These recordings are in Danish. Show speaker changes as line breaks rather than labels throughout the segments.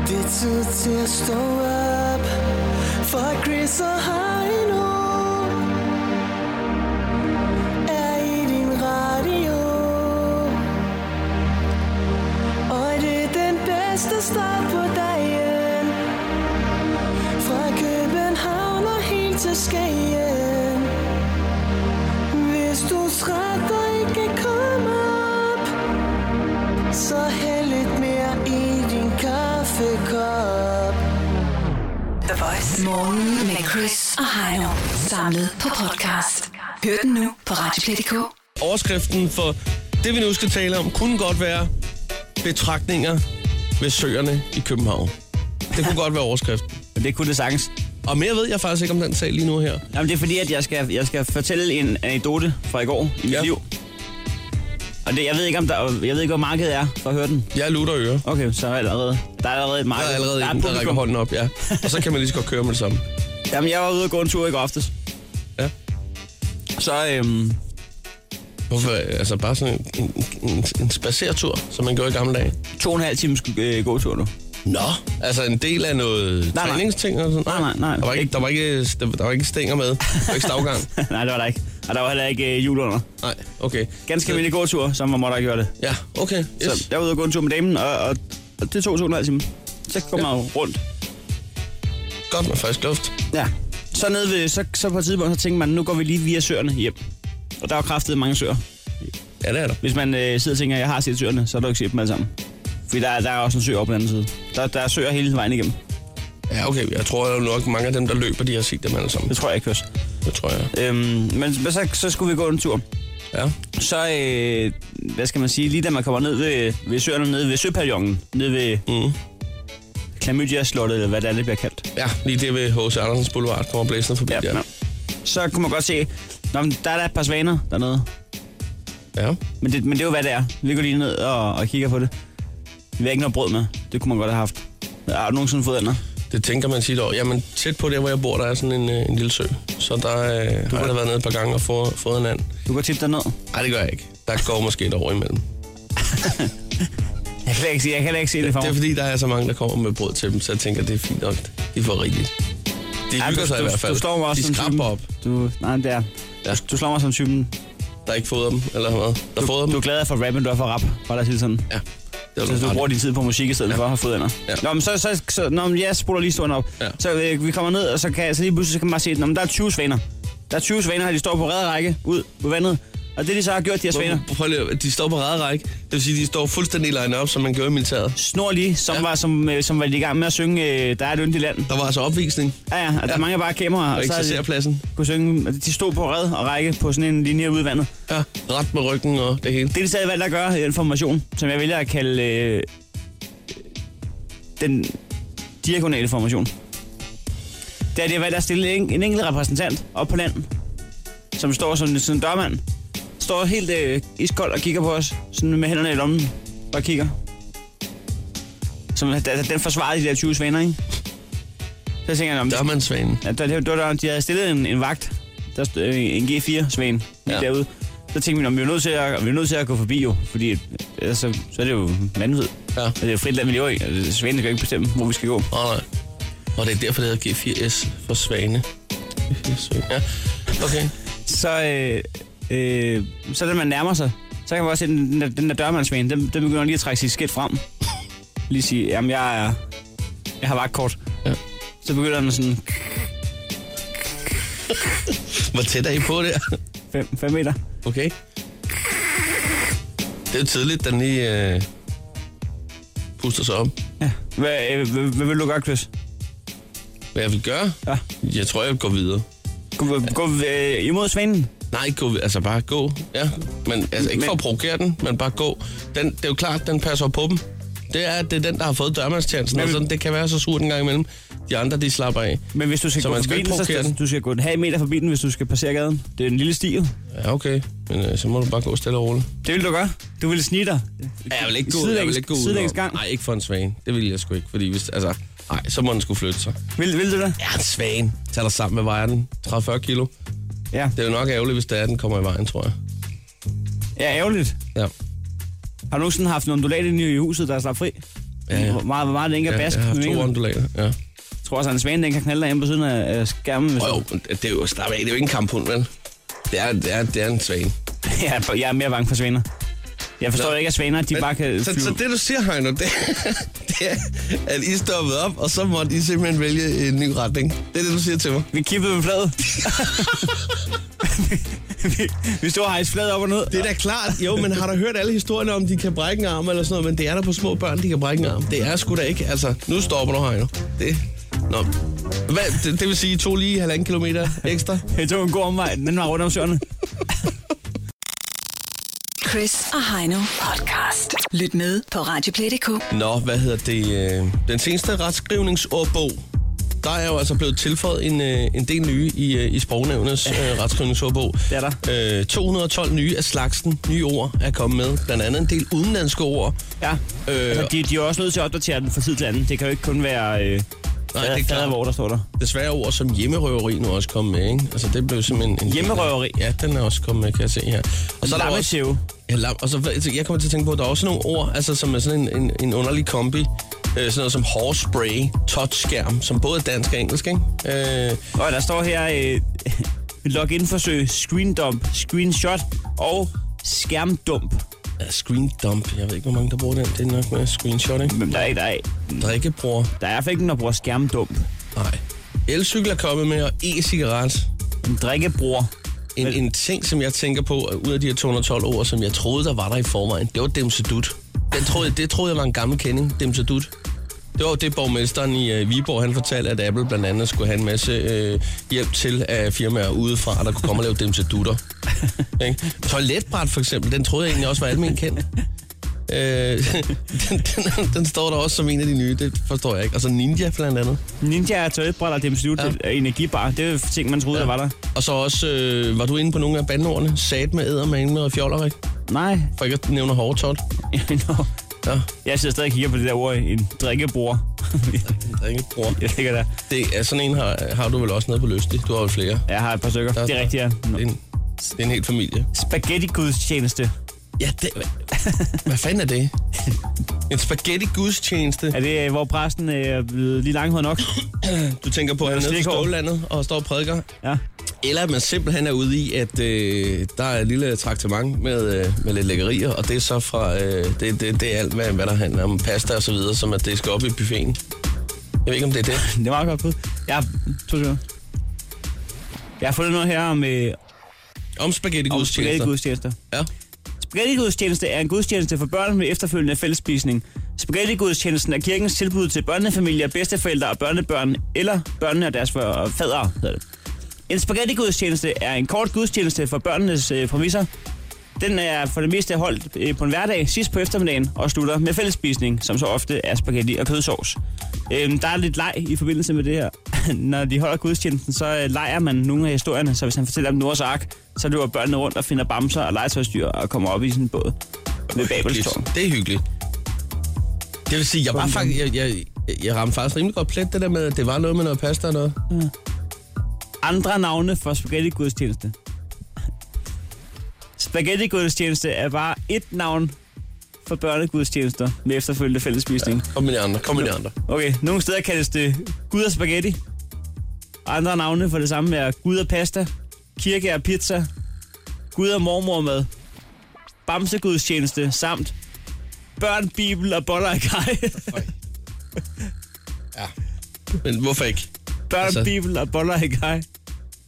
altid til at stå op For Chris og Heino Er i din radio Og det er den bedste start på dagen Fra København og helt til Skagen Hvis du er træt og ikke kan komme op Så hæld lidt mere i din kaffekop
The Voice. Morgen med Chris og Heino. Samlet på podcast. Hør den nu på Radioplay.dk.
Overskriften for det, vi nu skal tale om, kunne godt være betragtninger ved søerne i København. Det kunne godt være overskriften.
Men det kunne det sagtens.
Og mere ved jeg faktisk ikke om den sag lige nu her.
Jamen, det er fordi, at jeg skal, jeg skal fortælle en anekdote fra i går i mit
Ja.
ja. liv. Og det, jeg ved ikke, om der, jeg ved ikke, hvor markedet er for at høre den.
Jeg er lutter øre.
Okay, så er jeg allerede. Der er allerede et
Der
marked.
er allerede
et
en, der rækker
publikum.
hånden op, ja. Og så kan man lige så godt køre med det samme.
Jamen, jeg var ude og gå en tur i går aftes.
Ja.
Så, øhm,
Hvorfor? Altså bare sådan en, en, en, en spacertur, som man gjorde i gamle dage.
to og en halv times øh, gåtur nu.
Nå. Altså en del af noget
Nej, nej.
træningsting og sådan
Nej, nej, nej.
Der var ikke,
Ikke-
der var ikke, der var ikke stænger med. Der var ikke stavgang.
Nej, det var der ikke. Og der var heller ikke øh, jul under.
Nej, okay.
Ganske almindelig gåtur, som man måtte have gjort det.
Ja, okay. Yes.
Så jeg var ude og gå en tur med damen, og, og, og det tog to og en halv time. Så kom man jo rundt.
Godt med frisk luft.
Ja. Så, nede ved, så, så på et tidspunkt, så tænkte man, nu går vi lige via søerne hjem. Og der var kraftet mange søer.
Ja, det er der.
Hvis man øh, sidder og tænker, at jeg har set søerne, så er der jo ikke set dem alle sammen. Fordi der, er- der er også en sø over på den anden side. Der, der er søer hele vejen igennem.
Ja, okay. Jeg tror jo nok, mange af dem, der løber, de har set dem alle sammen.
Det tror jeg ikke også.
Det tror jeg.
Øhm, men men så, så skulle vi gå en tur.
Ja.
Så, øh, hvad skal man sige, lige da man kommer ned ved, ved søerne, nede ved søpavillonen, nede ved
Mm.
Klamydia-slottet, eller hvad det er, det bliver kaldt.
Ja, lige det ved H.C. Andersens Boulevard kommer blæsende forbi
Ja,
der.
ja. Så kunne man godt se, Nå, men der er der et par svaner dernede.
Ja.
Men det, men det er jo, hvad det er. Vi går lige ned og, og kigger på det. Vi har ikke noget brød med. Det kunne man godt have haft. Har du nogensinde fået andet?
Det tænker man tit over. Jamen, tæt på der, hvor jeg bor, der er sådan en, øh, en lille sø. Så der øh, har jeg da været nede et par gange og fået, fået en anden.
Du går tit derned.
Nej, det gør jeg ikke. Der går måske et år imellem.
Jeg kan heller ikke se, jeg kan heller ikke se det for
Det er
mig.
fordi, der er så mange, der kommer med brød til dem, så jeg tænker, det er fint nok. De får rigeligt. De
Ja,
hygger
du-
sig i
du-
hvert fald.
du slår mig også
de
som typen.
skraber op.
Du, nej, det er.
Ja.
Du slår mig som typen.
Der er ikke fået dem, eller hvad? Der er fået dem?
Du er glad for rap, end du er for rap. Bare lad os sige det sådan.
Ja. Det er
Så du bruger din tid på musik i stedet ja. for at have fodender.
Ja.
Ja. Nå, men så, så, så nå, men jeg spoler lige stående op.
Ja.
Ja. Så øh, vi kommer ned, og så, kan, så lige pludselig så kan man bare se, at der er 20 svaner. Der er 20 svaner, og de står på ræd række ud på vandet. Og det, de så har gjort, de her svaner,
Prøv lige, at- de står på række. Det vil sige, de står fuldstændig line op, som man gør i militæret.
snorlige, som,
Ja.
ja. var, som, øh, som var i gang med at synge øh, Der er et yndigt land.
Der var altså opvisning
Ja, ja, og der
Ja.
ja. mangler bare kameraer,
og
og så har de
eksercerpladsen.
kunne synge, og de stod på red og række på sådan en linje ude i vandet.
Ja, ret med ryggen og det hele.
Det, de stadig valgte at gøre i den formation, som jeg vælger at kalde øh, den diagonale formation, det er, at de har valgt at stille en, en enkelt repræsentant op på land, som står som, som en dørmand, står helt øh, iskold og kigger på os, sådan med hænderne i lommen, og kigger. Som, altså, den forsvarer de der 20 svaner, ikke? Så tænker jeg, om
Der er man svanen.
Ja, der, der, der, der, de havde stillet en, en vagt, der stod, øh, en G4-svan lige
Ja.
ja. derude. Så tænkte vi, om vi er nødt til at, vi er nødt til at gå forbi jo, fordi at, ellers så, så er det jo vanvid.
Ja.
Og det er jo frit land, vi lever i. Altså, Svanen skal jo ikke bestemme, hvor vi skal gå.
Åh, nej. Og det er derfor, det hedder G4S for svane. Ja, okay.
Så, øh, øh, så da man nærmer sig, så kan man også se, den, den der, den der dørmandsvan, den, den begynder lige at trække sit skidt frem. Lige sige, jamen jeg, er, jeg har vagtkort.
Ja.
Så begynder den sådan
Hvor tæt er I på der?
5 meter.
Okay. Det er jo tidligt, den lige øh, puster sig op.
Ja. Hvad, øh, hvad, hvad vil du gøre, Chris?
Hvad jeg vil gøre?
Ja.
Jeg tror, jeg vil gå videre.
Gå, gå øh, imod svanen?
Nej, ikke gå, altså bare gå. Ja, men altså ikke men...
Men-
for at provokere den, men bare gå. Den, det er jo klart, den passer på dem. Det er, det er den, der har fået dørmandstjenesten,
Men
og
vi-
sådan, det kan være så surt en gang imellem. De andre, de slapper af.
Men hvis du skal
Så
så gå
man
forbi
skal ikke
den, så
provokere
skal,
den?
du skal gå en halv meter forbi den, hvis du skal passere gaden. Det er en lille sti. jo.
Ja, okay. Men øh, så må du bare gå stille og roligt.
Det vil du gøre. Du vil snige dig.
Ja, jeg vil ikke gå, jeg
Sidelæns-
vil ikke gå
sidelæns
udenom.
gang.
Nej, ikke for en svane. Det vil jeg sgu ikke, fordi hvis, altså, nej, så må den skulle flytte sig.
Vil, vil du det?
Ja, en svane. Tag dig sammen med vejen. 30-40 kilo.
Ja.
Det er jo nok ærgerligt, hvis det er, den kommer i vejen, tror jeg.
Ja, ærgerligt.
Ja.
Har du nogensinde haft en undulat inde i huset, der er slappet fri? Ja,
Ja,
ja.
ja.
Hvor meget, hvor meget den ikke er
Ja,
bask.
jeg har
Ja,
to
jeg,
undulater. Ja.
tror også, at en svane den kan knalde derhjemme på siden af af skærmen. Hvis
Jo, jo, men det er jo, slap af, det er jo ikke en kamphund, vel? Det er, det er, det er en svane.
jeg, er, jeg er mere bange for svaner. Jeg forstår
Nå.
ikke, at svaner de bare kan
så,
flyve.
så det, du siger, Heino, det, det er, at I stoppede op, og så måtte I simpelthen vælge en ny retning. Det er det, du siger til mig.
Vi kippede med fladet. vi, vi stod og hejste fladet op og ned.
Det er da klart. Jo, men har du hørt alle historierne om, de kan brække en arm eller sådan noget? Men det er der på små børn, de kan brække en arm. Det er sgu da ikke. Altså, nu stopper du, Heino. Det... Nå. Hvad, det, det vil sige, I tog lige halvanden kilometer ekstra?
Det tog en god omvej. Den var rundt om søerne.
Chris og Heino podcast. Lyt med på Radioplay.dk.
Nå, hvad hedder det? øh, Den seneste retskrivningsordbog, der er jo altså blevet tilføjet en, øh, en del nye i, øh, i sprognævnets øh, retskrivningsordbog.
Det er
der. Øh, 212 nye af slagsen, nye ord er kommet med. Blandt andet en del udenlandske ord.
Ja. Øh,
Øh,
altså, de, de er også nødt til at opdatere den fra tid til anden. Det kan jo ikke kun være øh,
Nej,
fader-
det er klart.
fadervor, der står der.
Desværre ord som hjemmerøveri nu også kommet med, ikke? Altså, det blev simpelthen... En
Hjemmerøveri?
Ja, den er også kommet med, kan jeg se her. Og så er der jo også...
Lammetjæve.
Ja, lam, og så, altså, jeg kommer til at tænke på, at der er også nogle ord, altså, som er sådan en, en, en underlig kombi. Øh, sådan noget som hårspray, touchskærm, som både er dansk og engelsk, ikke? Øh,
Og der står her øh, login-forsøg, screendump, screenshot og skærmdump.
ja, screen dump, jeg ved ikke, hvor mange der bruger den. Det er nok med screenshot, ikke?
Men der er ikke, der er,
Drikkebruger,
der er i hvert fald ikke nogen, der bruger skærmdump.
nej. Elcykel er kommet med, og e-cigaret.
En drikkebruger.
En, en ting, som jeg tænker på, øh, ud af de her 212 ord, som jeg troede, der var der i forvejen, det var Demsedut. Den troede, det troede jeg var en gammel kending, Demsedut. Det var jo det, borgmesteren i øh, Viborg, han fortalte, at Apple blandt andet skulle have en masse øh, hjælp til af firmaer udefra, der kunne komme og lave Demsedutter. Ikke? Toiletbræt for eksempel, den troede jeg egentlig også var almen kendt. Øh, den, den, den, står der også som en af de nye, det forstår jeg ikke. Og så Ninja blandt andet.
Ninja er toiletbrætter, det er beslut,
Ja.
ja. energibar. Det er ting, man troede, ja. der var der.
Og så også, øh, var du inde på nogle af bandordene? Sat med ædermane med og fjollerik?
Nej.
For ikke at nævne hårdtot.
Nå.
Ja,
Jeg sidder stadig og kigger på det der ord, en drikkebruger.
drikkebror.
jeg ligger der.
Det er sådan en, har, har du vel også nede på Løstig. Du har jo flere.
Jeg har et par stykker.
Der-
Det er rigtigt, ja.
Det er en, det er en hel familie.
Spaghetti-gudstjeneste.
Ja, det, hvad, hvad fanden er det? En spaghetti gudstjeneste.
Er det, øh, hvor præsten øh, er blevet lige langhåret nok?
Du tænker på, at han er nede på
slikhår.
Skållandet og står og prædiker.
Ja.
Eller at man simpelthen er ude i, at øh, der er et lille traktement med, øh, med lidt lækkerier, og det er så fra, øh, det, det, det er alt, hvad, hvad der handler om pasta og så videre, som at det skal op i buffeten. Jeg ved ikke, om det er det.
Det er meget godt bud. Jeg har, to sekunder. Jeg har fundet noget her om, øh,
Om spaghetti
om
gudstjenester.
spaghetti-gudstjenester.
Ja.
Spaghetti-gudstjeneste er en gudstjeneste for børn med efterfølgende fællesspisning. Spaghetti-gudstjenesten er kirkens tilbud til børnefamilier, bedsteforældre og børnebørn, eller børnene og deres for- fædre. hedder det. En spaghetti-gudstjeneste er en kort gudstjeneste for børnenes øh, præmisser. Den er for det meste holdt øh, på en hverdag sidst på eftermiddagen og slutter med fællesspisning, som så ofte er spaghetti og kødsovs. Øhm, der er lidt leg i forbindelse med det her. Når de holder gudstjenesten, så øh, leger man nogle af historierne, så hvis han fortæller om Noras ark, så løber børnene rundt og finder bamser og legetøjsdyr og kommer op i sådan en båd ved Babelstårn.
Det er hyggeligt. Det vil sige, jeg, var faktisk, jeg, jeg, jeg ramte faktisk rimelig godt plet det der med, at det var noget med noget pasta og noget.
Andre navne for spaghetti-gudstjeneste. Spaghetti-gudstjeneste er bare et navn for børnegudstjenester med efterfølgende fællesspisning.
Kom med de andre, kom med de andre.
Okay, nogle steder kaldes det Gud og spaghetti. Andre navne for det samme er Gud og pasta, kirke og pizza, Gud og mormormad, bamsegudstjeneste samt børn, bibel og boller og kaj.
Øh, Ja. Men hvorfor ikke?
børn, altså...
Altså-
bibel og boller og kaj.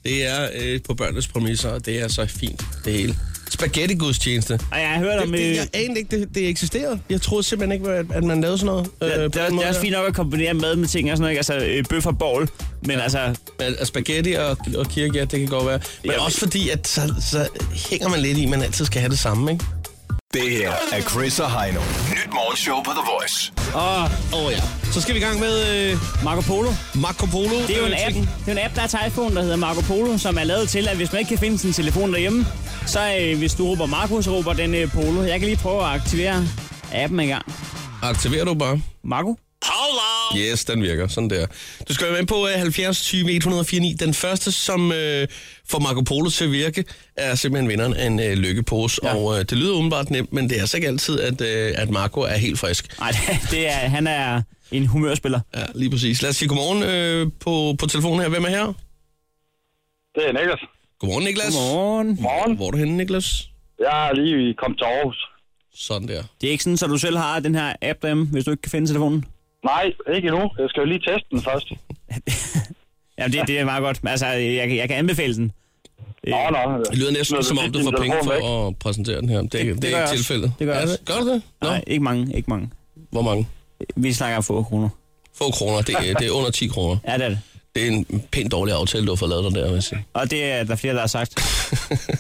Det er øh, på børnenes præmisser, og det er så fint, det hele. Spaghetti-gudstjeneste. Det,
Og jeg har hørt om...
det,
øh,
jeg anede ikke, det, det eksisterede. Jeg troede simpelthen ikke, at, at man lavede sådan noget.
Ja, det,
på
er,
den
det
måde
er også
der.
fint nok at kombinere mad med ting og sådan noget, ikke? altså øh, bøf og bål, men altså,
Men, altså, spaghetti og, og kirke, ja, det kan godt være. Men
Ja.
også fordi, at så, så hænger man lidt i, at man altid skal have det samme, ikke?
Det her er Chris og Heino. Nyt morgenshow på The Voice.
og
Åh oh, ja. Så skal vi i gang med øh,
Marco Polo,
Marco Polo.
det er jo en
øh,
app,
ting.
det er en app, der er til iPhone, der hedder Marco Polo, som er lavet til, at hvis man ikke kan finde sin telefon derhjemme, så øh, hvis du råber Marco, så råber den øh, Polo. Jeg kan lige prøve at aktivere appen en gang.
Aktiverer du bare.
Marco?
Polo!
Yes, den virker. Sådan der. Du skal være med på øh, 70 20 149. Den første, som øh, får Marco Polo til at virke, er simpelthen vinderen af en øh, lykkepose. Ja. Og øh, det lyder umiddelbart nemt, men det er altså ikke altid, at, øh, at Marco er helt frisk.
Nej, det, det er, han er en humørspiller.
Ja, lige præcis. Lad os sige godmorgen øh, på, på telefonen her. Hvem er her?
Det er Niklas.
Godmorgen, Niklas.
Godmorgen.
Morgen.
Hvor er du henne, Niklas?
Jeg er lige kommet til Aarhus.
Sådan der.
Det er ikke sådan, så du selv har den her app derhjemme, hvis du ikke kan finde telefonen?
Nej, ikke endnu. Jeg skal jo lige teste den først.
Jamen, det, det er meget godt. Altså, jeg, kan- jeg kan anbefale den. Øh.
Nå, nå.
Det lyder næsten,
Når
som om
fik
du
din
får penge
telefon væk.
for at præsentere den her. Det, det, det,
det
det
gør jeg
er ikke
også.
tilfældet.
Det gør jeg
er
også.
det? Gør du det? Nå,
Nej, ikke mange, ikke mange.
hvor mange?
Vi snakker om få kroner.
Få kroner. Det, er- det er under 10 kroner.
Ja, det er det.
Det er en pænt dårlig aftale, du har fået lavet dig der, vil jeg sige.
Og det er der flere, der har sagt.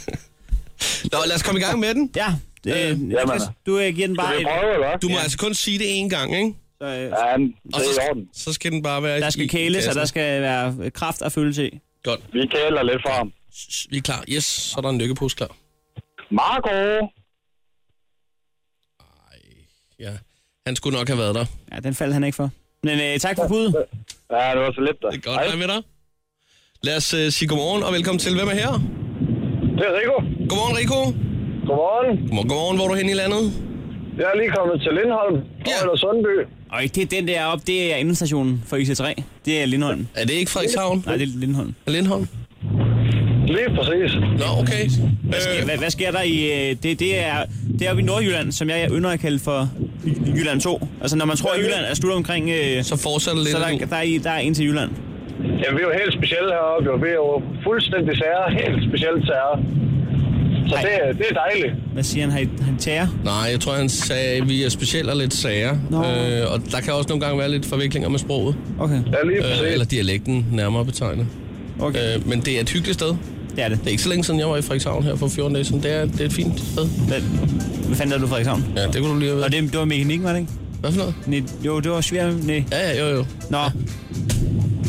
Nå, lad os komme i gang med den.
Ja, det, øh, Niklas, du øh, giver
altså. Skal
den bare
vi
et...
prøve, eller hvad?
Du må altså kun sige det én gang, ikke?
Så, øh,
Ja, men
Og
det
så,
er i orden.
så skal den bare være
der skal
i- i
kæles, og
kassen.
der skal være kraft og følelse i.
Godt.
Vi kæler lidt for ham.
S- Vi er klar. Yes, så er der en lykkepose klar.
Marco!
Ja. Han skulle nok have været der.
Ja, den faldt han ikke for. Men øh, tak for budet.
Ja, det var så lidt der.
Det er godt, hej med dig. Lad os uh, sige godmorgen og velkommen til. Hvem er her?
Det er Rico.
Godmorgen, Rico.
Godmorgen.
Godmorgen, godmorgen. hvor er du henne i landet?
Jeg er lige kommet til Lindholm.
Ja.
Eller Sundby.
Og ikke det, den der op, det er endestationen for IC3. E. Det er Lindholm.
Er det ikke Frederikshavn?
Nej, det er Lindholm.
Er Lindholm?
Lige præcis.
Nå, okay.
Hvad sker, hvad, hvad sker der i... øh, Det, det, er, det er oppe i Nordjylland, som jeg ynder at kalde for Jy- Jylland 2. Altså, når man tror, at Jylland er slut omkring... Øh,
Så fortsætter lidt.
så
endnu.
der, der, er, i- der er en til Jylland.
Jamen, vi er jo helt specielle heroppe. Jo. Vi er jo fuldstændig sære. Helt specielle sære. Så
Ej.
det, er- det er dejligt.
Hvad siger han? Har I- Han tager?
Nej, jeg tror, han sagde, at vi er specielt og lidt sager.
Nå.
Øh, og der kan også nogle gange være lidt forviklinger med sproget.
Okay,
Ja, lige
Øh,
præcis.
eller dialekten, nærmere betegnet.
okay.
Øh, men det er et hyggeligt sted.
Det er det.
Det er ikke så længe siden, jeg var i Frederikshavn her for 14 dage siden. Det er, det er et fint sted.
Hvad, hvad fanden lavede du Frederikshavn?
Ja, det kunne du lige have
Og
været.
det, det var mekanikken, var det ikke?
Hvad for noget?
Nej, jo, det var svært. Nej.
Ja, ja, jo, jo.
Nå.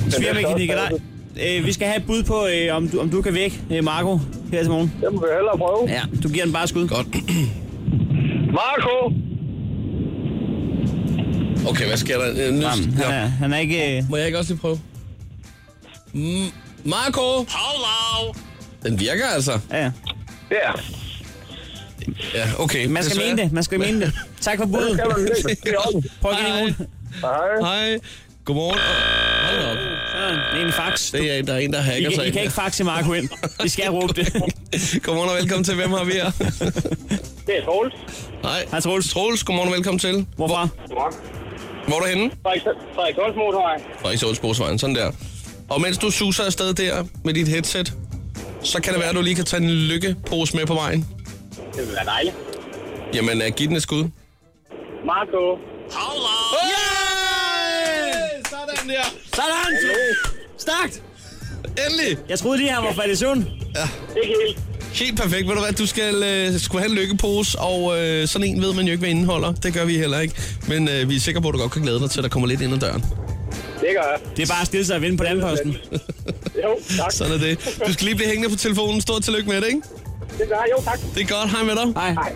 Svirmekanik eller ej. Øh, vi skal have et bud på, øh, om, du, om du kan væk, øh, Marco, her til morgen.
Det må vi hellere prøve.
Ja. Du giver den bare et skud.
Godt.
Marco!
Okay, hvad sker der? Øh, nu,
Jamen, han,
ja.
er, han er ikke... Øh,
Må jeg ikke også lige prøve? Mm, Marco! Hello! Den virker altså.
ja. ja.
Ja,
Ja, okay.
Øh, Man skal
desværre.
mene det, man skal mene det. Tak for budet.
det er man virkelig. Det er i orden.
Prøv igen i morgen.
Hej.
Hej. Godmorgen. Og- Hold da op.
Sådan, det er en fax.
Det er, en- der er en, der hacker
I,
sig
kan, I
ind
kan ikke
her.
faxe Marco ind. Vi skal råbe det.
Godmorgen og velkommen til. Hvem har vi her?
Det er Troels.
Hej.
Hej, Troels.
Troels, godmorgen og velkommen til.
Hvorfra?
Godmorgen.
Hvor er du henne?
Frederik Holst Motorvej.
Og i Solsborgsvejen, sådan der. Og mens du suser afsted der med dit headset, så kan det være, at du lige kan tage en lykkepose med på vejen.
Det vil være dejligt.
Jamen, uh, giv den et skud.
Marco.
Yes! Øh, Sådan der.
Sådan! Stærkt!
Endelig.
Jeg troede lige, han var faldet i søvn.
Ikke helt.
Helt perfekt. Ved du hvad, du skal, øh, skulle have en lykkepose, og øh, sådan en ved man jo ikke, hvad indeholder. Det gør vi heller ikke. Men øh, vi er sikre på, at du godt kan glæde dig til, at der kommer lidt ind ad døren.
Det gør jeg.
Det er bare at stille sig og vinde på den posten.
Jo, tak.
Sådan er det. Du skal lige blive hængende på telefonen. Stort tillykke med det, ikke?
Det gør jeg. Jo, tak.
Det er godt. Hej med dig.
Hej.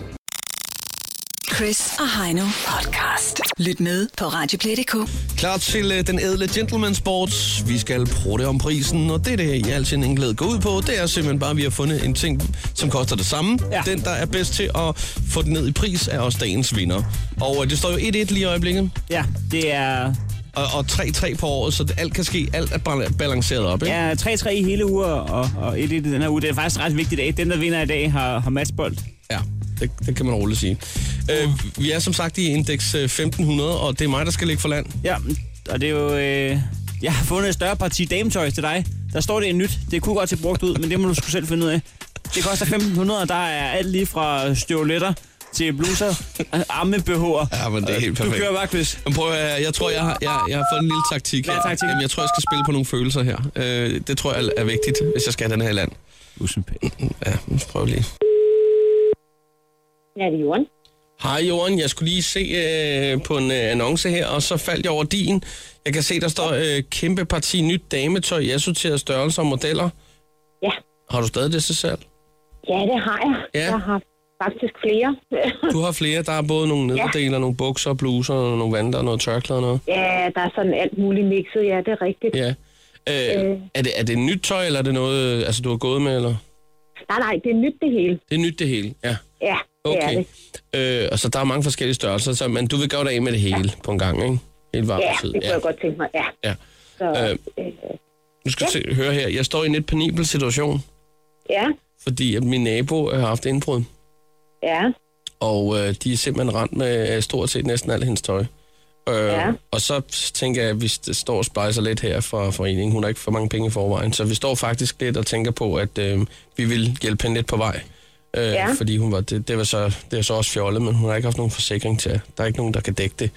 Chris og Heino podcast. Lyt med på Radioplay.dk.
Klar til øh, den ædle gentleman sports. Vi skal prøve det om prisen, og det det i al sin enkelhed går ud på, det er simpelthen bare, at vi har fundet en ting, som koster det samme.
Ja.
Den, der er bedst til at få den ned i pris, er også dagens vinder. Og øh, det står jo 1-1 lige i øjeblikket,
Ja, det er
og, og 3-3 på året, så det, alt kan ske. Alt er bal- balanceret op, ikke?
Ja, 3-3 i hele uger, og, og 1-1 i den her uge. Det er faktisk en ret vigtig dag. Den, der vinder i dag, har, har matchbold.
Ja, det, det kan man roligt sige. Øh, vi er som sagt i indeks øh, 1500, og det er mig, der skal ligge for land.
Ja, og det er jo... Øh, jeg har fundet et større parti dametøj til dig. Der står det er nyt. Det kunne godt se brugt ud, men det må du sgu selv finde ud af. Det koster 1.500, og der er alt lige fra støvletter til bluser, ammebehårer.
Ja, men det er helt
Øh, Du
perfekt.
kører bare, Chris.
Men prøv at, høre her. jeg tror, jeg har, jeg, jeg har fået en lille taktik.
Hvad er
her.
taktikken?
Jamen, jeg tror, jeg skal spille på nogle følelser her. Øh, det tror jeg er vigtigt, hvis jeg skal have den her i land. Ja, nu prøv lige.
Ja, det er Jorden.
Hej Jorden, jeg skulle lige se øh, på en øh, annonce her, og så faldt jeg over din. Jeg kan se, der står øh, kæmpe parti nyt dametøj i assorterede størrelser og modeller.
Ja.
Har du stadig det til salg?
Ja, det har jeg.
Ja.
Jeg har Faktisk flere.
Du har flere. Der er både nogle nederdele, ja. nogle bukser, bluser, og nogle vandter, noget tørklæder og noget.
ja, der er sådan alt muligt mixet. Ja, det er rigtigt.
Ja. Øh, øh.
Øh.
Er, det, er det nyt tøj, eller er det noget, altså, du har gået med? Eller?
Nej, nej, det er nyt det hele.
Det er nyt det hele, ja.
Ja, det er
Okay.
det.
Øh, og så der er mange forskellige størrelser, så, men du vil gøre dig af med det hele ja. på en gang, ikke? Helt varmt
Ja,
tid.
det kunne jeg godt tænke mig. Ja.
Ja.
Så,
Øh.
øh.
Nu skal du se, høre her. Jeg står i en lidt penibel situation,
ja,
fordi at min nabo øh, har haft indbrud,
ja,
og øh, de er simpelthen rent med øh, stort set næsten alt hendes tøj. Øh,
Ja.
Og så tænker jeg, at vi st- står og splejser lidt her for foreningen. Hun har ikke for mange penge i forvejen, så vi står faktisk lidt og tænker på, at øh, vi vil hjælpe hende lidt på vej. Øh,
Ja.
Fordi hun var, det, det, var så, det er så også fjollet, men hun har ikke haft nogen forsikring til. Der er ikke nogen, der kan dække det.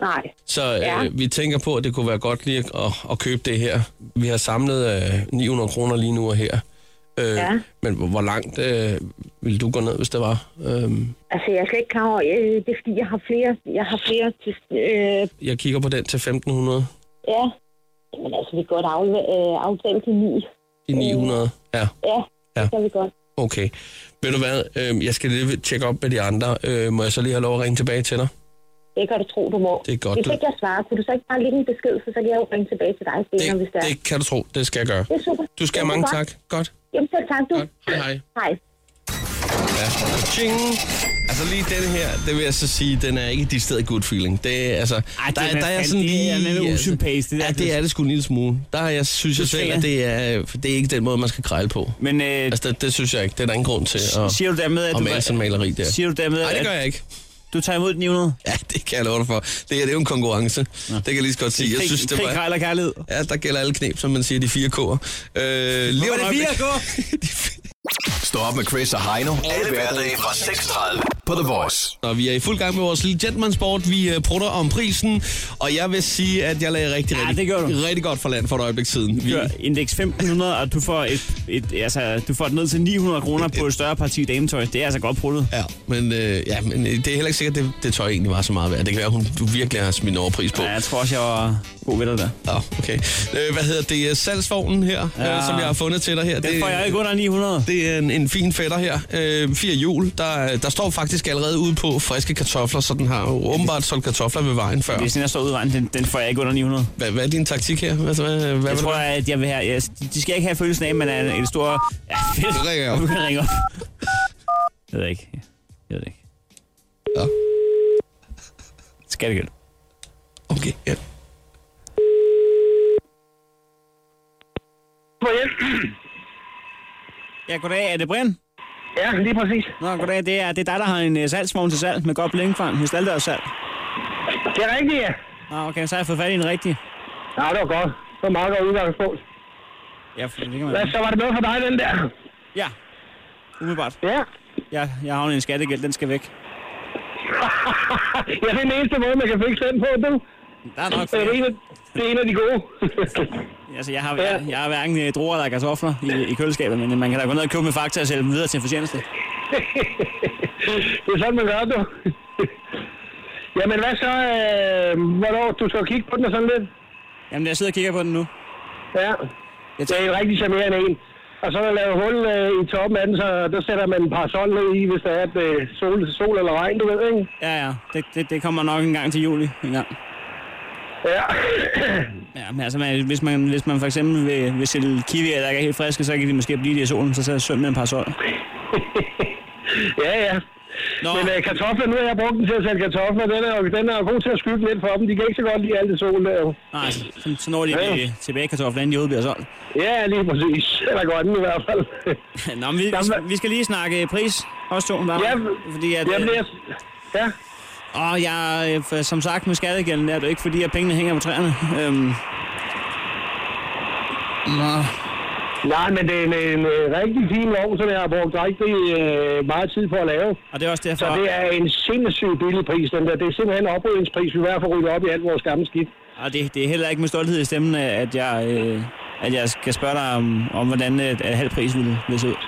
nej.
Så øh, ja.
Ja.
vi tænker på, at det kunne være godt lige at, at, at købe det her. Vi har samlet øh, 900 kroner lige nu og her. Øh,
Ja.
Men hvor, hvor langt øh, ville du gå ned, hvis det var? Øh,
Altså, jeg er slet ikke klar over, øh, det er fordi, jeg har flere, jeg har flere til, øh,
jeg kigger på den til 1500.
ja. Men altså, vi kan godt af, øh, aftale til ni.
De 900. Ja,
Ja,
Ja.
det kan vi godt.
okay. Ved du hvad, øh, jeg skal lige tjekke op med de andre. Øh, må jeg så lige have lov at ringe tilbage til dig?
Det kan du tro, du må.
Det er godt,
Hvis
du-
ikke jeg svarer, kunne du så ikke bare lægge en besked, så, så kan jeg jo ringe tilbage til dig senere, hvis
Det,
det er.
det kan du tro, det skal jeg gøre.
Det er super.
Du skal have
Det er
mange
godt.
tak. Godt.
Jamen, selv tak, du.
Godt. Hej, hej.
Hej.
Ja. Ching. Altså lige denne her, det vil jeg så sige, den er ikke de sted good feeling. Det er altså, Ej,
det
der,
er
der, er
fandme-
jeg sådan
det
lige...
er lidt
altså-
usympatisk, det der.
Ja, det er det sgu en lille smule. Der er jeg, synes jeg
Du
selv,
ser.
at det er, det er ikke den måde, man skal krejle på.
Men øh,
Altså, det, det synes jeg ikke. Det er der ingen grund til at,
siger du dermed, at
at
du,
male sådan en maleri der.
siger du dermed,
Nej, det gør
at
jeg ikke.
du tager imod 900?
Ja, det kan jeg love dig for. Det her det er jo en konkurrence. Det kan jeg lige så godt sige. Jeg synes, det
Krig,
var...
krejl og kærlighed.
Ja, der gælder alle knep, som man siger, de fire k'er. Øh, lige
Hvor er
om
det
øjeblik-
fire k'er?
De fire-
Stå op med Chris og Heino. Alle hverdage fra 6.30 på The Voice.
Nå, vi er i fuld gang med vores lille gentleman-sport. Vi øh, prutter om prisen, og jeg vil sige, at jeg lagde rigtig,
Ja,
rigtig,
det gjorde du.
rigtig godt for land for et øjeblik siden. Vi,
Kør indeks 1500, og du får, et, et, altså, du får det ned til 900 kroner på et større parti dametøj. Det er altså godt pruttet.
ja, men, øh, ja, men øh, det er heller ikke sikkert, at det, det tøj egentlig var så meget værd. Det kan være, at hun du virkelig har smidt en overpris på.
Ja, jeg tror også, jeg var god ved dig der.
Nå, okay. Øh, hvad hedder det? øh, Salgsvognen her, ja.
Ja.
øh, som jeg har fundet til dig her.
Den får jeg ikke under 900.
Det er en, en fin fætter her. Øh, fire hjul. Der, der står faktisk allerede ude på friske kartofler, så den har jo åbenbart solgt kartofler ved vejen før.
Det er sådan, jeg står ud i vejen. Den, den får jeg ikke under 900.
Hvad, hvad er din taktik her? Hvad, hvad, hvad vil
Jeg
du
tror, at jeg vil have... Jeg, de skal ikke have følelsen af, at man er en, en stor... Ja, fedt.
Nu ringer jeg op.
Du kan ringe op. Jeg ved ikke. Jeg ved ikke.
Ja.
Skal det gælde?
Okay, ja.
Ja, goddag. Er det Brian?
Ja, lige præcis.
Nå, goddag. Det er, det er dig, der har en uh, salgsvogn til salg med godt blinkfang hos Daldørs salg.
Det er rigtigt, ja.
Nå, okay. Så har jeg fået fat i en rigtig.
Ja, det var godt. Det var meget godt udgangspunkt.
Ja, for- det kan man...
Hvad så var det med for dig, den der?
Ja. Umiddelbart.
Ja.
Ja, jeg har en skattegæld. Den skal væk.
ja, det er den eneste måde, man kan fikse den på, du.
Der er nok
Det er en
flere.
af, det er en af de gode.
Altså, jeg har, jeg, jeg har hverken øh, druer eller kartofler i, i køleskabet, men man kan da gå ned og købe med fakta og sælge dem videre til en fortjeneste.
det er sådan, man gør, du. Jamen, hvad så? Øh, hvornår du skal kigge på den og sådan lidt?
Jamen, jeg sidder og kigger på den nu.
Ja.
Jeg
Det er en rigtig charmerende en. Og så er der lavet hul øh, i toppen af den, så der sætter man en parasol ned i, hvis der er et, øh, sol, sol eller regn, du ved, ikke?
Ja, ja. Det, det, det kommer nok en gang til juli. En gang.
Ja.
Ja, men altså, man, hvis, man, hvis man for eksempel vil, vil sælge kiwier, der ikke er helt friske, så kan de måske blive det i solen, så så søm med en parasol.
ja, ja.
Nå,
Men øh, kartofler, nu har jeg brugt den til at sælge kartofler. Den er, jo, den er jo god til at skygge lidt for dem. De kan ikke så godt lide alt det sol der. jo.
nej, så, så når de øh, tilbage kartofler, inden de overhovedet bliver solgt.
Ja, lige præcis. Eller godt i hvert fald.
Nå, men vi, vi, skal- vi skal lige snakke pris, også to, der.
Ja,
fordi at,
Jamen,
øh,
jeg... Ja.
Og jeg, øh, for- som sagt med skattegælden, er det jo ikke fordi, at pengene hænger på træerne. Øhm. Nå.
Nej, men det er en, en øh, rigtig fin vogn, som jeg har brugt rigtig øh, meget tid på at lave.
Og det er også derfor...
Så det er en sindssygt billig pris, den der. Det er simpelthen en oprydningspris, vi hver får ryddet op i alt vores gamle skidt.
Og det, det er heller ikke med stolthed i stemmen, at jeg, øh, at jeg skal spørge dig om, om hvordan et, et halv pris ville, ville se ud.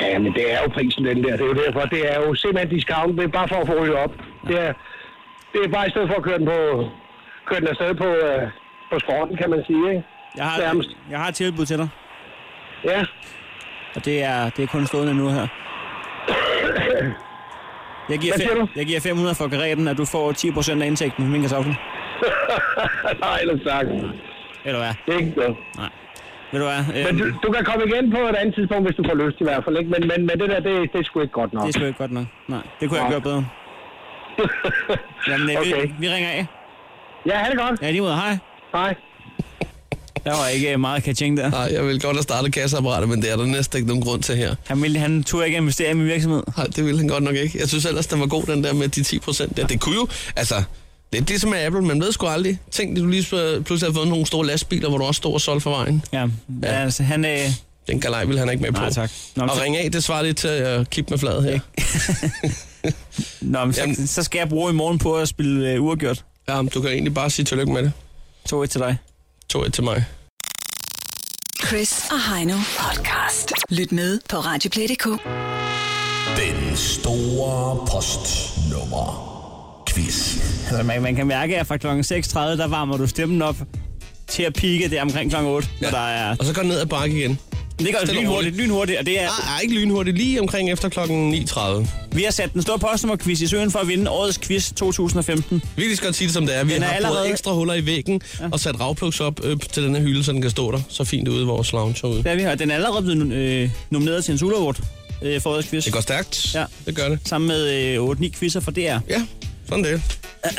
Ja, men det er jo prisen, den der. Det er jo derfor. Det er jo simpelthen discount. Det er bare for at få ryddet op. Det er, det er bare i stedet for at køre den, på, køre den afsted på, øh, på skrotten, kan man sige. Ikke?
Jeg har,
Nærmest.
jeg har et tilbud til dig,
Ja.
og det er, det er kun stående nu her. Jeg giver,
Hvad siger
fem,
du?
jeg giver 500 for karetten, og du får 10% af indtægten med min kartoffel.
Nej, ellers tak.
Ved du hvad?
Det er ikke noget.
Nej. Ved du hvad?
Men
Øhm,
du, du kan komme igen på et andet tidspunkt, hvis du får lyst i hvert fald. Ikke? Men, men, men det der, det, det er sgu ikke godt nok.
det er sgu ikke godt nok. Nej, det kunne jeg
Nej.
gøre bedre. Jamen, øh,
Okay.
vi, vi ringer af.
Ja, ha' det godt.
Ja, lige ud. Hej.
Hej.
Der var ikke øh, meget kaching der.
Nej, jeg vil godt have startet kasseapparatet, men det er der næsten ikke nogen grund til her.
Han, ville, han turde ikke investere i min virksomhed.
Nej, det ville han godt nok ikke. Jeg synes ellers, den var god, den der med de 10 procent der. Det kunne jo, altså, lidt ligesom med Apple, man ved sgu aldrig. Tænk, at du lige pl- pludselig har fået nogle store lastbiler, hvor du også står og solgte for vejen.
Ja, ja. altså han... Øh,
Den galej vil han ikke med på.
nej, tak. Nå, men,
Og
så,
ringe af, det svarer lidt til at kippe med fladet her.
nå, men så,
Jamen.
så, skal jeg bruge i morgen på at spille øh, uafgjort.
Ja, men du kan egentlig bare sige tillykke med det.
2-1 til dig.
2-1 til mig.
Chris og Heino podcast. Lyt med på Radioplay.dk.
Den store postnummer quiz.
Altså, man, man kan mærke, at fra kl. 6.30, der varmer du stemmen op til at pike det omkring kl. 8, ja. når der er...
Og så går den ned ad bakke igen.
Det går
Stille og
lynhurtigt, lynhurtigt, og det er...
Ah, ah, ikke lynhurtigt lige omkring efter klokken 9.30.
Vi har sat den store postnummerquiz i søen for at vinde årets quiz 2015.
Vi kan lige så godt sige det, som det er. Vi
Den er
har allerede...
allerede-
brugt ekstra huller i væggen ja. og sat ravplugs op øh, til den her hylde, så den kan stå der så fint ude i vores lounge herude.
Det er vi, og den er allerede blevet øh, nomineret til en Sula Award øh, for årets quiz.
Det går stærkt.
Ja.
Det gør det.
Sammen med øh, 8-9 quizzer fra DR.
Ja, sådan det.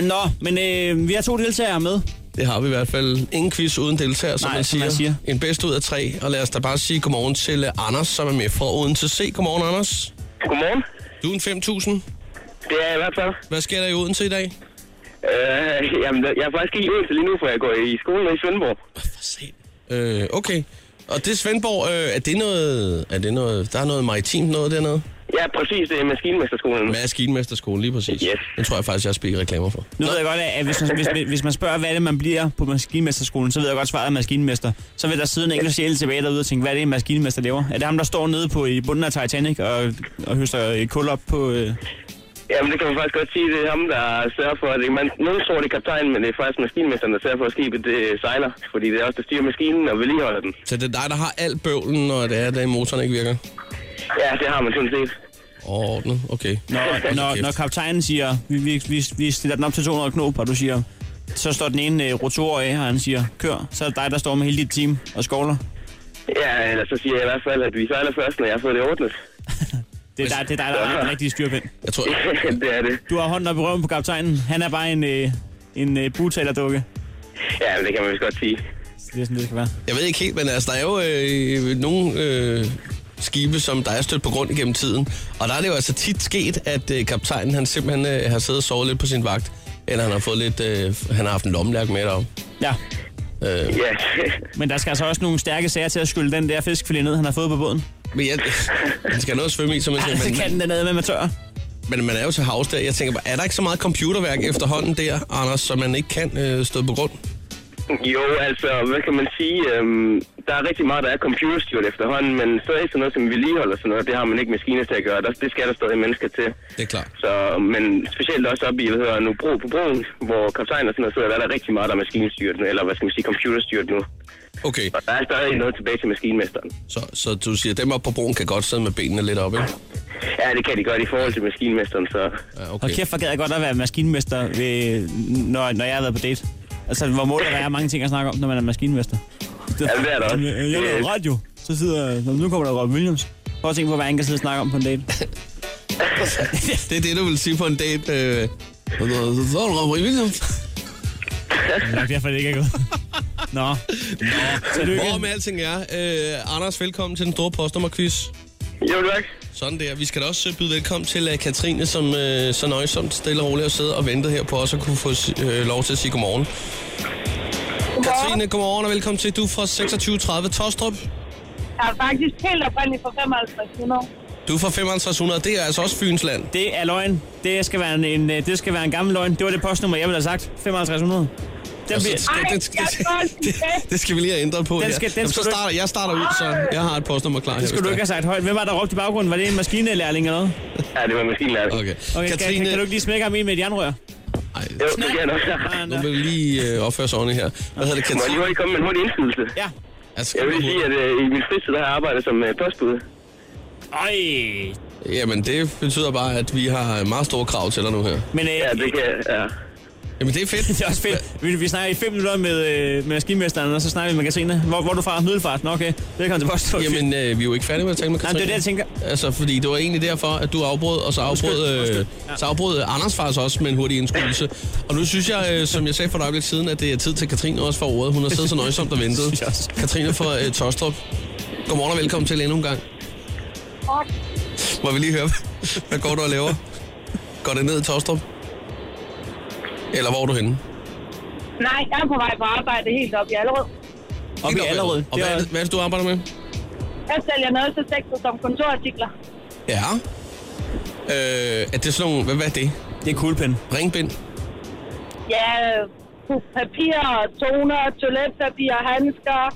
Øh, Nå, men øh, vi har to deltagere med.
Det har vi i hvert fald. Ingen quiz uden deltager, som,
Nej,
man,
som
siger.
man siger.
En bedst ud af tre. Og lad os da bare sige godmorgen til øh, Anders, som er med fra Odense C. Godmorgen, Anders.
Godmorgen.
Du er en 5.000.
Det er jeg i hvert fald.
Hvad sker der i Odense i dag?
Øh, jamen, jeg er faktisk ikke i Odense lige nu, for jeg går i skolen i Svendborg.
Øh, okay. Og det Svendborg, øh, er det noget... Er det noget... Der er noget maritimt noget dernede?
Ja, præcis. Det er maskinmesterskolen.
Maskinmesterskolen, lige præcis.
Yes.
Det tror jeg faktisk, jeg spikker reklamer for.
Nu ved jeg godt, at hvis man, hvis, hvis man spørger, hvad det er, man bliver på maskinmesterskolen, så ved jeg godt, svaret er maskinmester. Så vil der sidde en enkelt sjæl tilbage derude og tænke, hvad er det, en maskinmester laver? Er det ham, der står nede på i bunden af Titanic og, og høster øh, kul op på... Øh...
Jamen, det kan man faktisk godt sige. Det er ham, der sørger for, at det, man, nogen tror, det er kaptajn, men det er faktisk maskinmesteren, der sørger for, at skibet det sejler. Fordi det er også der styrer maskinen og vedligeholder den.
Så det er dig, der har alt bøvlen, når det er, at motoren ikke virker?
Ja, det har man sådan set.
Ordnet, okay.
Når, når, når kaptajnen siger, vi, vi, vi, vi stiller den op til 200 knop, og du siger, så står den ene øh, rotor af, og han siger, kør. Så er det dig, der står med hele dit team og skovler.
Ja, eller så siger jeg i hvert fald, at vi sejler først, når jeg får det ordnet.
Det er dig, det er dig der er den rigtige styrpind.
Jeg tror,
det er det.
Du har hånden op i røven på kaptajnen. Han er bare en, øh, en øh, butalerdukke.
Ja, men det kan man vist godt sige.
Så Det er sådan, det skal være.
jeg ved ikke helt, men altså, der er jo øh, nogle øh, skibe, som der er stødt på grund igennem tiden. Og der er det jo altså tit sket, at øh, kaptajnen han simpelthen øh, har siddet og sovet lidt på sin vagt. Eller han har fået lidt, øh, han har haft en lommelærk med deroppe.
Ja,
Øh,
Ja,
Men der skal altså også nogle stærke sager til at skylle den der fiskefilet ned, han har fået på båden.
men jeg, han skal have noget at svømme i, som man
Ja,
siger.
så
Men,
kan den ned med med tør.
Men man er jo til havs der. Jeg tænker bare, er der ikke så meget computerværk efterhånden der, Anders, som man ikke kan øh, stå på grund?
Jo, altså, hvad kan man sige? Øhm, der er rigtig meget, der er computerstyret efterhånden, men stadig sådan noget som vedligehold og sådan noget, det har man ikke maskiner til at gøre. Der, det skal der stadig mennesker til.
Det er klart.
Så, men specielt også oppe i, hvad hedder nu, bro på broen, hvor kaptajner og sådan noget sidder, der er der rigtig meget, der er maskinstyret nu, eller hvad skal man sige, computerstyret nu.
Okay,
Og der er stadig noget tilbage til maskinmesteren.
så, så du siger, at dem oppe på broen kan godt sidde med benene lidt op, ikke?
Ja, det kan de godt i forhold til maskinmesteren, så...
Ja,
Og kæft, hvor gad jeg godt at være maskinmester, ved, når, når jeg har været på date. Altså, hvor må der være mange ting at snakke om, når man er maskinmester? Ja,
det er der også.
Jeg laver radio, så sidder... Nå, nu kommer der Rob Williams. Prøv at tænke på, hvad han kan sidde og snakke om på en date.
Det er det, du vil sige på en date. Øh, så er du Robert Williams.
Det er nok derfor, det ikke er gået. Nå. Nå, tillykke.
Hvor med alting er, øh, Anders, velkommen til den store postnummerquiz.
Jo, tak.
Sådan der. Vi skal da også øh, byde velkommen til uh, Katrine, som uh, så nøjsomt stille og roligt har siddet og ventet her på os og kunne få uh, lov til at sige godmorgen. Katrine, godmorgen og velkommen til. Du er fra 2630 Tostrup.
Jeg er faktisk helt oprindelig for 5500.
Du er fra 5500. Det er altså også Fyns land.
Det er løgn. Det skal være en, en, øh, det skal være en gammel løgn. Det var det postnummer, jeg ville have sagt. 5500. Den
Altså,
bliver,
Ej, jeg tror,
det, det, det skal vi lige have ændret på
Den
her.
skal- den
Jamen, så
skal du ikke-
starter, jeg starter ud, så jeg har et postnummer klar.
det skulle du ikke have sagt højt. Hvem var der råbt i baggrunden? Var det en maskinelærling eller noget?
Ja, det var maskinlærer. Okay.
Okay.
Okay, Katrine... kan, kan, du ikke lige smække ham ind med et jernrør?
Ej,
Jo, det kan jeg nok.
nu vil vi lige øh, opføre sig ordentligt her. Hvad hedder det,
Må jeg
Katrine?
lige hurtigt komme med en hurtig indskydelse?
Ja.
Altså,
Jeg vil sige, at øh, i min fritid har jeg arbejdet som øh, postbud.
Øj,
Jamen, det betyder bare, at vi har meget store krav til dig nu her.
Men øh,
Ja, det kan ja.
Jamen, det er fedt.
det er også fedt. Vi, vi snakker i fem minutter med, øh, med maskinmesteren, og så snakker vi med Katrine. Hvor, hvor er du fra? Middelfart? Nå, okay. Velkommen til Vostok. Jamen,
Jamen, øh, vi er jo ikke færdige med at tale med
Jamen,
Katrine.
det er det, jeg tænker.
Altså, fordi det var egentlig derfor, at du afbrød, og så afbrød, øh, så afbrød Anders faktisk også med en hurtig indskydelse. Og nu synes jeg, øh, som jeg sagde for et øjeblik siden, at det er tid til Katrine også for ordet. Hun har siddet så nøjsomt og ventet.
Synes jeg også.
Katrine fra øh, Tostrup. Godmorgen og velkommen til endnu en gang.
Godt.
Må vi lige høre, hvad går du og laver? Går det ned i Tostrup? Eller hvor er du henne?
Nej, jeg er på vej på arbejde helt op i Allerød.
Op i
Helt
Allerød.
Og
Det
hvad er, det,
var,
hvad er det, du arbejder med?
Jeg sælger noget til sex som kontorartikler.
Ja. Øh, er det sådan nogle, hvad, hvad er det?
det er kuglepen.
Ringbind?
Ja, papir, toner, toiletpapir, handsker.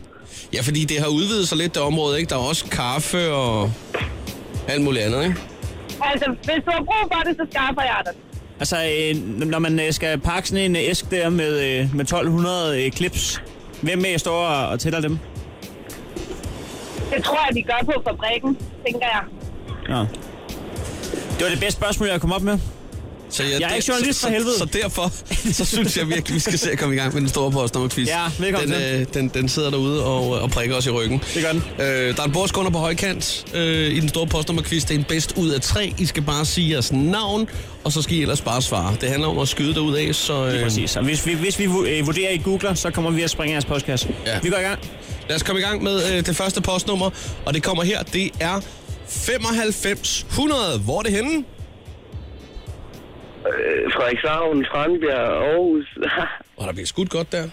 Ja, fordi det har udvidet sig lidt, det område, ikke? Der er også kaffe og alt muligt andet, ikke?
Altså, hvis du har brug for det, så skaffer jeg det.
Altså, øh, når man øh, skal pakke sådan en øh, æsk der med, øh, med 1200 øh, clips, hvem med står og, og tæller dem?
Det tror jeg, de gør på fabrikken, tænker jeg.
Nå. Det var det bedste spørgsmål, jeg kom op med.
Så
Jeg er ikke journalist, for helvede.
Så, så derfor, så synes jeg virkelig, vi skal se at komme i gang med den store postnummerquiz.
Ja, velkommen
den,
til.
øh, den, den sidder derude og, og prikker os i ryggen.
Det gør den.
Øh, der er en bordskunder på højkant øh, i den store postnummerquiz. Det er en bedst ud af tre. I skal bare sige jeres navn, og så skal I ellers bare svare. Det handler om at skyde derud af, så
Lige
øh,
præcis. Og hvis vi, hvis vi vu- øh, vurderer i Google, så kommer vi at springe jeres postkasse.
Ja.
Vi går i gang.
lad os komme i gang med øh, det første postnummer. Og det kommer her. Det er 9500. Hvor er det henne?
Øh, Frederikshavn, Tranbjerg, Aarhus.
Og der bliver skudt godt der.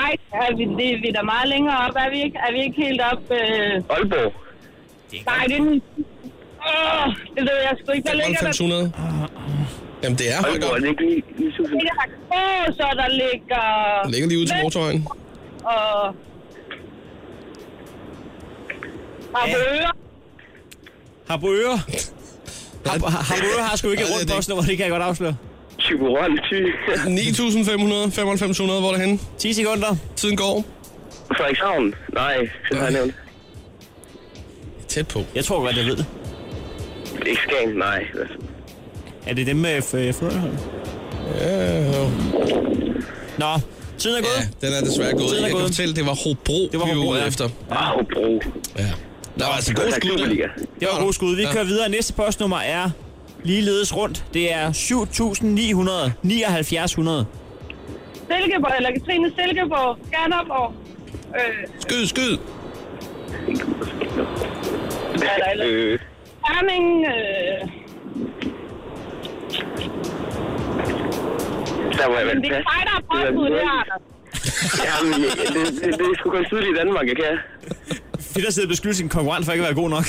Nej, er vi, det, vi er da meget længere op. Er vi ikke, er vi ikke helt op? Øh...
Aalborg.
Nej, det er den... Åh, det ved jeg sgu ikke. Der ligger der...
9500. Jamen, det er højt
Aalborg,
op.
er det ikke lige 9.000?
ligger der så der ligger...
Den ligger lige ud til motorvejen.
Og... Og bøger.
Harboøre. Har- har- Harboøre har sgu ikke
Nej,
et
det er
rundt
det
postnummer, det kan jeg godt afsløre.
Tiburon, Thy.
9.500, 9500, hvor er det henne?
10 sekunder.
Tiden går.
Frederikshavn? Nej, det har jeg nævnt.
Tæt på.
Jeg tror godt, jeg ved det.
Ikke Skagen, nej.
Er det dem med f- fodbold?
Ja, jo.
Nå, tiden er gået.
ja, den er desværre gået.
Tiden er
Jeg kan
gået.
fortælle, det var Hobro,
Det var
vi var
Hobro,
ude
ja.
efter.
Åh, oh, bro.
Ja. Der var altså god
Tak,
skud.
Superliga.
der.
Det var gode skud. Vi
Ja.
kører videre. Næste postnummer er ligeledes rundt. Det er 7.900. 7900.
Silkeborg, eller Katrine Silkeborg, Skanderborg. Øh,
Skyd, skyd.
hvad er der ellers?
Øh,
Herning, øh,
der var jeg
men
vel
det er dig,
pas.
der har påskud, det her. Anders.
Jamen, øh, det, det, det er sgu kun sydlige Danmark, jeg kan.
Fedt at sidde og beskylde sin konkurrent for ikke at være god nok.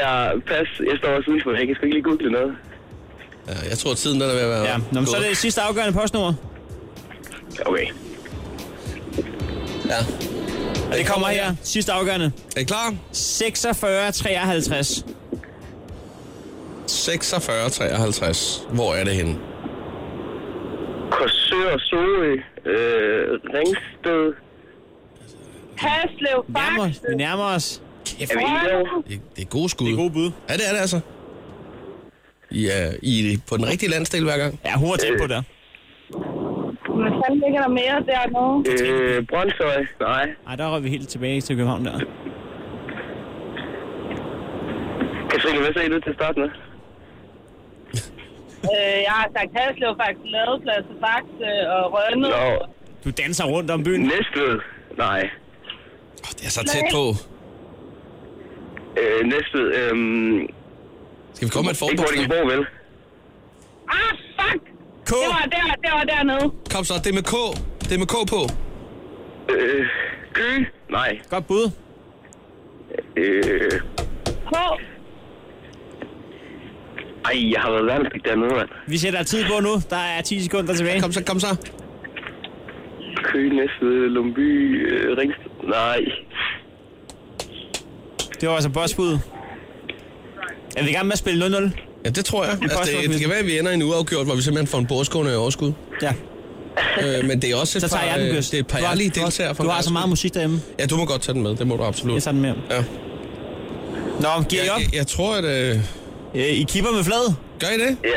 Jeg, pas, jeg står også udenfor, jeg kan sgu ikke lige google noget.
Ja, jeg tror, tiden den er ved at være
Ja, Nå, men så er det sidste afgørende postnummer.
Okay.
Ja.
Og det kommer her. Sidste afgørende.
Er I klar?
4653.
46, 53. Hvor er det henne?
Korsør, Sorø, øh, Ringsted,
Haslev,
Nærmer os.
Faxe,
Vi nærmer os.
er vi enige om?
Det, det er gode skud.
Det er gode bud.
Ja, det er det altså. Ja, I er på den rigtige landsdel hver gang.
Ja, hun var tæt på der.
Hvad fanden ligger der mere dernede?
Øh, Brøndshøj, nej.
Ej, der røg vi helt tilbage til København der.
Katrine, hvad sagde du til at starte med?
Øh, jeg har sagt Haslev, Faxe, Ladeplads, Faxe og Rønne.
Nå,
Du danser rundt om byen.
Næstved, nej.
Oh, det er så tæt på.
Øh, Næstved, øhm,
Skal vi komme med et
ikke
forbundsnavn?
Vordingborg, vel?
Ah, fuck!
K.
Det var der, det var dernede.
Kom så, det er med K. Det er med K på.
Øh, Køge, nej.
Godt bud.
Øh,
K.
ej, jeg har været værnepligt dernede, mand.
Vi sætter tid på nu. Der er 10 sekunder tilbage.
Kom så, kom så.
Køge, Næstved, Lumby, øh, Ringsted, nej.
Det var altså bossbuddet. Er vi i gang med at spille 0-0?
Ja, det tror jeg. Altså,
påstår,
det, det kan være, at vi ender i en uafgjort, hvor vi simpelthen får en bordskående overskud.
Ja.
Øh, men det er også et
Så tager
par,
jeg den,
øh,
Gøs.
det er et par
Du har-
ærlige
du har-
deltagere. fra
Du har
hver
så meget musik derhjemme.
skud. Ja, du må godt tage den med. Det må du absolut.
Jeg tager den med.
Ja.
Nå, giver I
Jeg,
op?
jeg, jeg tror, at... Øh,
Øh, I kipper med flad?
gør I det?
Ja,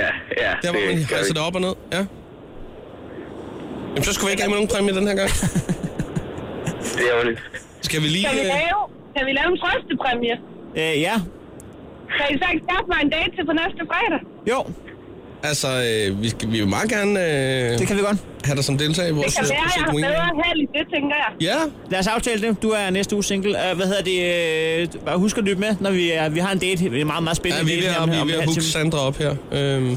ja.
Der, hvor man
gør vi.
rejser det op og ned? Ja. Jamen, så skulle vi ikke have med nogen præmie den her gang.
Det er ærgerligt.
Skal vi lige...
Kan vi
Øh,
lave, kan vi lave en trøstepræmie?
Øh, ja.
Kan I så ikke skaffe mig en date til på næste fredag?
Jo,
altså, øh, vi, skal, vi vil meget gerne øh,
det kan vi godt.
have dig som deltager i
Det
vores...
kan
øh,
være, jeg har
Prosecco Weekend.
bedre held i det, tænker jeg.
Ja,
Lad os aftale det. Du er næste uge single. Uh, hvad hedder det? Uh, husk at lytte med, når vi, uh, vi har en date. Det er meget, meget
ja
spændende.
vi er ved
date her
at,
om-
vi er
om
ved
en
at
halv
hooke
time.
Sandra op her. Øhm.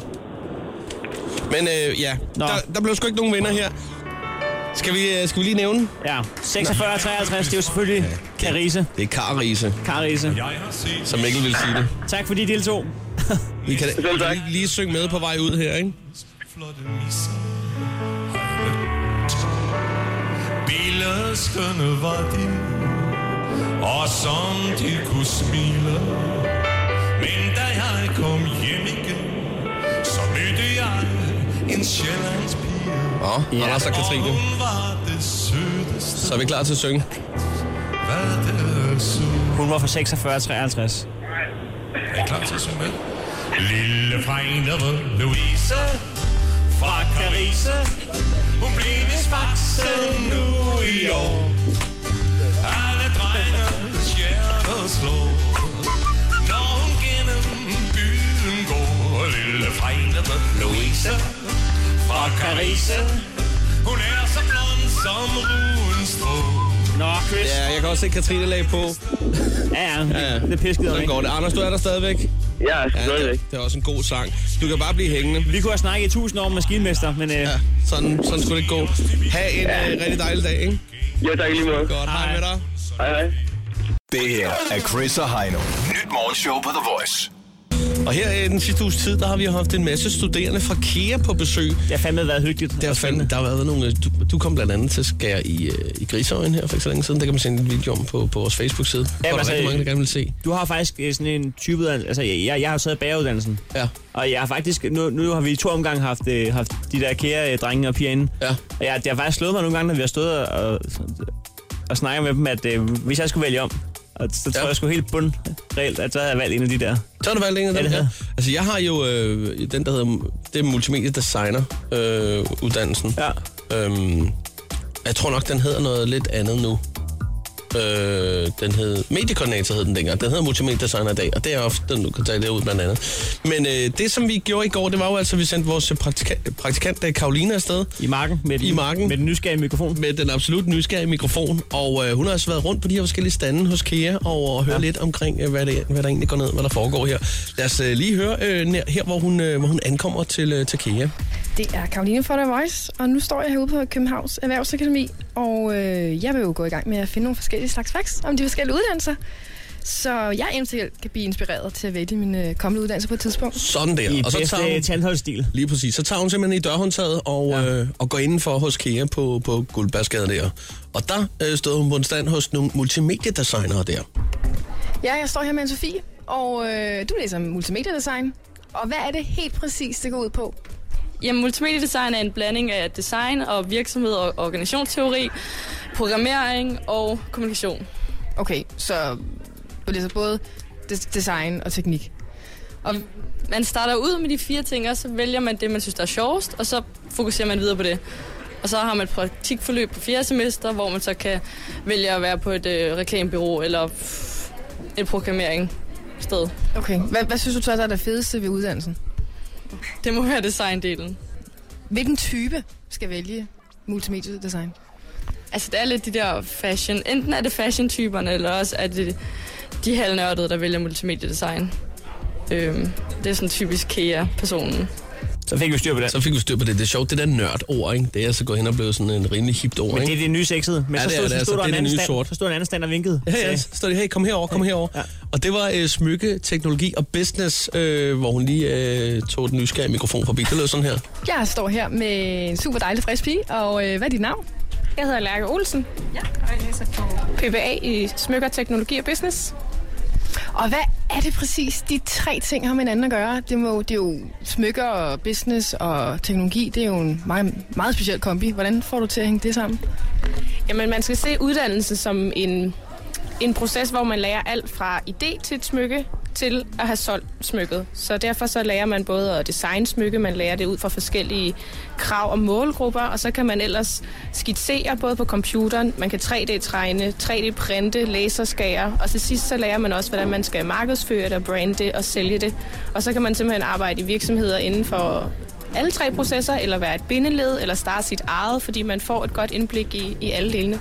Men øh, ja,
Nå.
der, der blev sgu ikke nogen vinder her. Skal vi, øh, skal vi lige nævne?
Ja, 46 og 53, det er jo selvfølgelig Karise.
Det er Karise,
Karise.
som Mikkel vil sige det.
Tak fordi I deltog.
Vi kan lige, lige synge med på vej ud her, ikke?
Billedskerne var de, og som de kunne smile. Men da jeg kom hjem igen, så mødte jeg en sjællands pige.
Nå, ja. Anders og Katrine.
Og hun var det sødeste,
Så er vi klar til at synge.
hvad der så.
Hun var fra 46 og 53.
Er I klar til at synge med? Lille fregnede Louise fra Carise. Hun blev vist vaksen nu i år. Alle drenges hjerter slår. Når hun gennem byen går. Lille fregnede Louise fra Carise. Hun er så blond som ruens strå.
Nå, Chris.
Ja, jeg kan også se, at Katrine lagde på.
Ja, ja. Det er pisket
Sådan går det. Anders, du er der stadigvæk.
Ja, selvfølgelig.
det, det er også en god sang. Du kan bare blive hængende.
Vi kunne have snakket i tusind år om maskinmester, men øh,
Ja, sådan, sådan skulle det ikke gå. Ha' en øh, rigtig dejlig dag, ikke?
Ja, tak i lige måde.
Godt, hej
Hej.
med dig.
Hej, hej.
Det her er Chris og Heino. Nyt morgenshow på The Voice.
Og her i den sidste uges tid, der har vi haft en masse studerende fra KEA på besøg.
det har fandme været hyggeligt.
Der, fandt, der har været nogle... øh, Du, du kom blandt andet til skær i, øh, i Grisøjen her for ikke så længe siden. Der kan man se en video om på, på vores Facebook-side. Ja, hvor der er
altså,
rigtig mange, der gerne vil se.
Du har faktisk øh, sådan en type uddannelse. Altså, jeg, jeg har jo taget bageruddannelsen.
Ja.
Og jeg har faktisk, nu, nu har vi i to omgange haft, øh, haft de der kære øh, drenge og piger inde.
Ja.
Og jeg, det har faktisk slået mig nogle gange, når vi har stået og, og, og snakket med dem, at øh, hvis jeg skulle vælge om, og så tror
Ja.
ja. jeg sgu helt bund reelt, at så havde jeg valgt en af de der.
Så har du valgt en af
Ja,
dem
det
her.
havde
Altså, jeg har jo øh, den, der hedder... Det er multimedia designer øh, uddannelsen.
Ja.
Øhm, jeg tror nok, den hedder noget lidt andet nu. Øh, den hed... Mediekoordinator hed den dengang. Den hedder Multimedia Designer i dag, og det er ofte den, du kan tage det ud blandt andet. Men øh, det, som vi gjorde i går, det var jo altså, at vi sendte vores praktikant, praktikant øh, Karoline afsted
I marken med den,
I marken.
Med den nysgerrige mikrofon.
med den absolut nysgerrige mikrofon, og øh, hun har altså været rundt på de her forskellige stande hos Kea og høre ja. lidt omkring, øh, hvad, det, hvad der egentlig går ned, hvad der foregår her. Lad os øh, lige høre øh, nær- her, hvor hun, øh, hvor hun ankommer til, øh, til Kea.
Det er Karoline fra The Voice, og nu står jeg herude på Københavns Erhvervsakademi, og øh, jeg vil jo gå i gang med at finde nogle forskellige slags facts om de forskellige uddannelser, så jeg eventuelt kan blive inspireret til at vælge min øh, kommende uddannelse på et tidspunkt.
Sådan der.
I
og så
bedste
tager hun,
tandholdsstil.
Lige præcis. Så tager hun simpelthen i dørhåndtaget og, ja. øh, og går indenfor hos Kea på, på Guldbærsgade der. Og der øh, stod hun på en stand hos nogle multimediedesignere der.
Ja, jeg står her med en Sofie, og øh, du læser multimediedesign, og hvad er det helt præcist, det går ud på?
Jamen, multimediedesign er en blanding af design og virksomhed og organisationsteori, programmering og kommunikation.
Okay, så du læser både des- design og teknik.
Og man starter ud med de fire ting, og så vælger man det, man synes, der er sjovest, og så fokuserer man videre på det. Og så har man et praktikforløb på fjerde semester, hvor man så kan vælge at være på et øh, reklamebyrå eller pff, et programmering sted.
Okay, hvad, hvad synes du så, der er det fedeste ved uddannelsen?
Det må være designdelen.
Hvilken type skal vælge multimediedesign?
Altså, det er lidt de der fashion. Enten er det fashion-typerne, eller også er det de halvnørdede, der vælger multimediedesign. Øhm, det er sådan typisk KEA-personen.
Så fik vi styr på det.
Så fik vi styr på det. Det er sjovt, det der nørdord, ikke? Det er så gået hen og blevet sådan en rimelig hipt ord,
Men det
ikke?
er det nye sexede. Men så
Ja, det er
stod,
det,
så
altså.
stod der
Det er
en
det
anden
nye
stand,
sort.
så stod der en anden stand og vinkede.
Ja, ja,
Sagde,
så står de, hey, kom herover, kom herover. Ja.
Ja.
Og det var øh, smykke, teknologi og business, øh, hvor hun lige øh, tog den nysgerrige mikrofon forbi. Det lød sådan her.
Jeg står her med en super dejlig frisk pige, og øh, hvad er dit navn?
Jeg hedder Lærke Olsen. Ja, og jeg læser på PBA i smykker, teknologi og business.
Og hvad er det præcis, de tre ting har med hinanden at gøre? Det, må, det er jo smykker og business og teknologi, det er jo en meget, meget speciel kombi. Hvordan får du til at hænge det sammen?
Jamen, man skal se uddannelsen som en
en proces, hvor man lærer alt fra idé til et smykke til at have solgt smykket. Så derfor så lærer man både at designe smykke, man lærer det ud fra forskellige krav og målgrupper, og så kan man ellers skitsere både på computeren, man kan 3D-tegne, 3D-printe, laserskære, og til sidst så lærer man også, hvordan man skal markedsføre det og brande det og sælge det. Og så kan man simpelthen arbejde i virksomheder inden for alle tre processer, eller være et bindeled, eller starte sit eget, fordi man får et godt indblik i, i alle delene.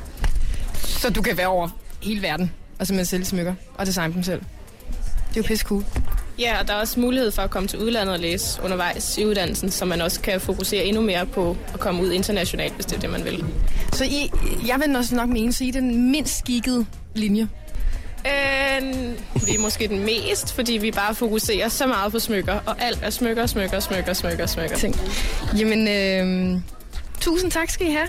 Så du kan være over hele verden og simpelthen sælge smykker og designe dem selv. Det er jo pisse cool.
Ja, og der er også mulighed for at komme til udlandet og læse undervejs i uddannelsen, så man også kan fokusere endnu mere på at komme ud internationalt, hvis det er det, man vil.
Så I, jeg vil også nok mene, så I er den mindst skikkede linje.
Øh, vi er måske den mest, fordi vi bare fokuserer så meget på smykker, og alt er smykker, smykker, smykker, smykker, smykker.
Ting. Jamen, øh, tusind tak skal I have.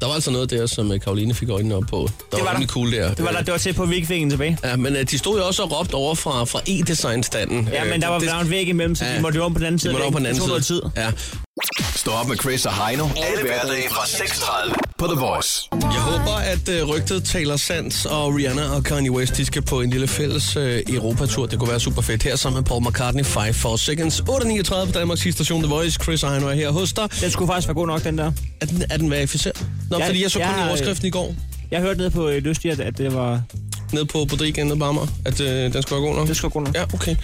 Der var altså noget der, som øh, Karoline fik øjnene op på. Der det var, var rimelig cool der. Øh,
Det var der, det var tæt på, at vi ikke fik en tilbage.
Ja, men øh, de stod jo også og råbte over fra, E. fra e-design-standen.
Ja, men der var, der var en væg imellem, så de måtte jo om på den anden side.
De måtte
af
om på den
væggen.
anden
Det
side.
tog
Ja.
Stå op med Chris og Heino. Alle hverdage fra 6.30 på The Voice.
Jeg håber, at øh, rygtet taler sandt, og Rihanna og Kanye West de skal på en lille fælles øh, Europatur. Det kunne være super fedt her sammen med Paul McCartney, 5 for Seconds. 8.39 på Danmarks sidste station The Voice. Chris og Heino er her hos dig.
Den skulle faktisk være god nok, den der.
Er den, er den verificeret? Nå,
Jeg-
fordi jeg så kun
jeg har,
i
øh,
overskriften i går.
Jeg hørte ned på øh, Lystig, at, at det var...
Nede på Bodrigan nede på Amager, at øh, den skulle være god nok? Det
skulle være god nok.
Ja, okay.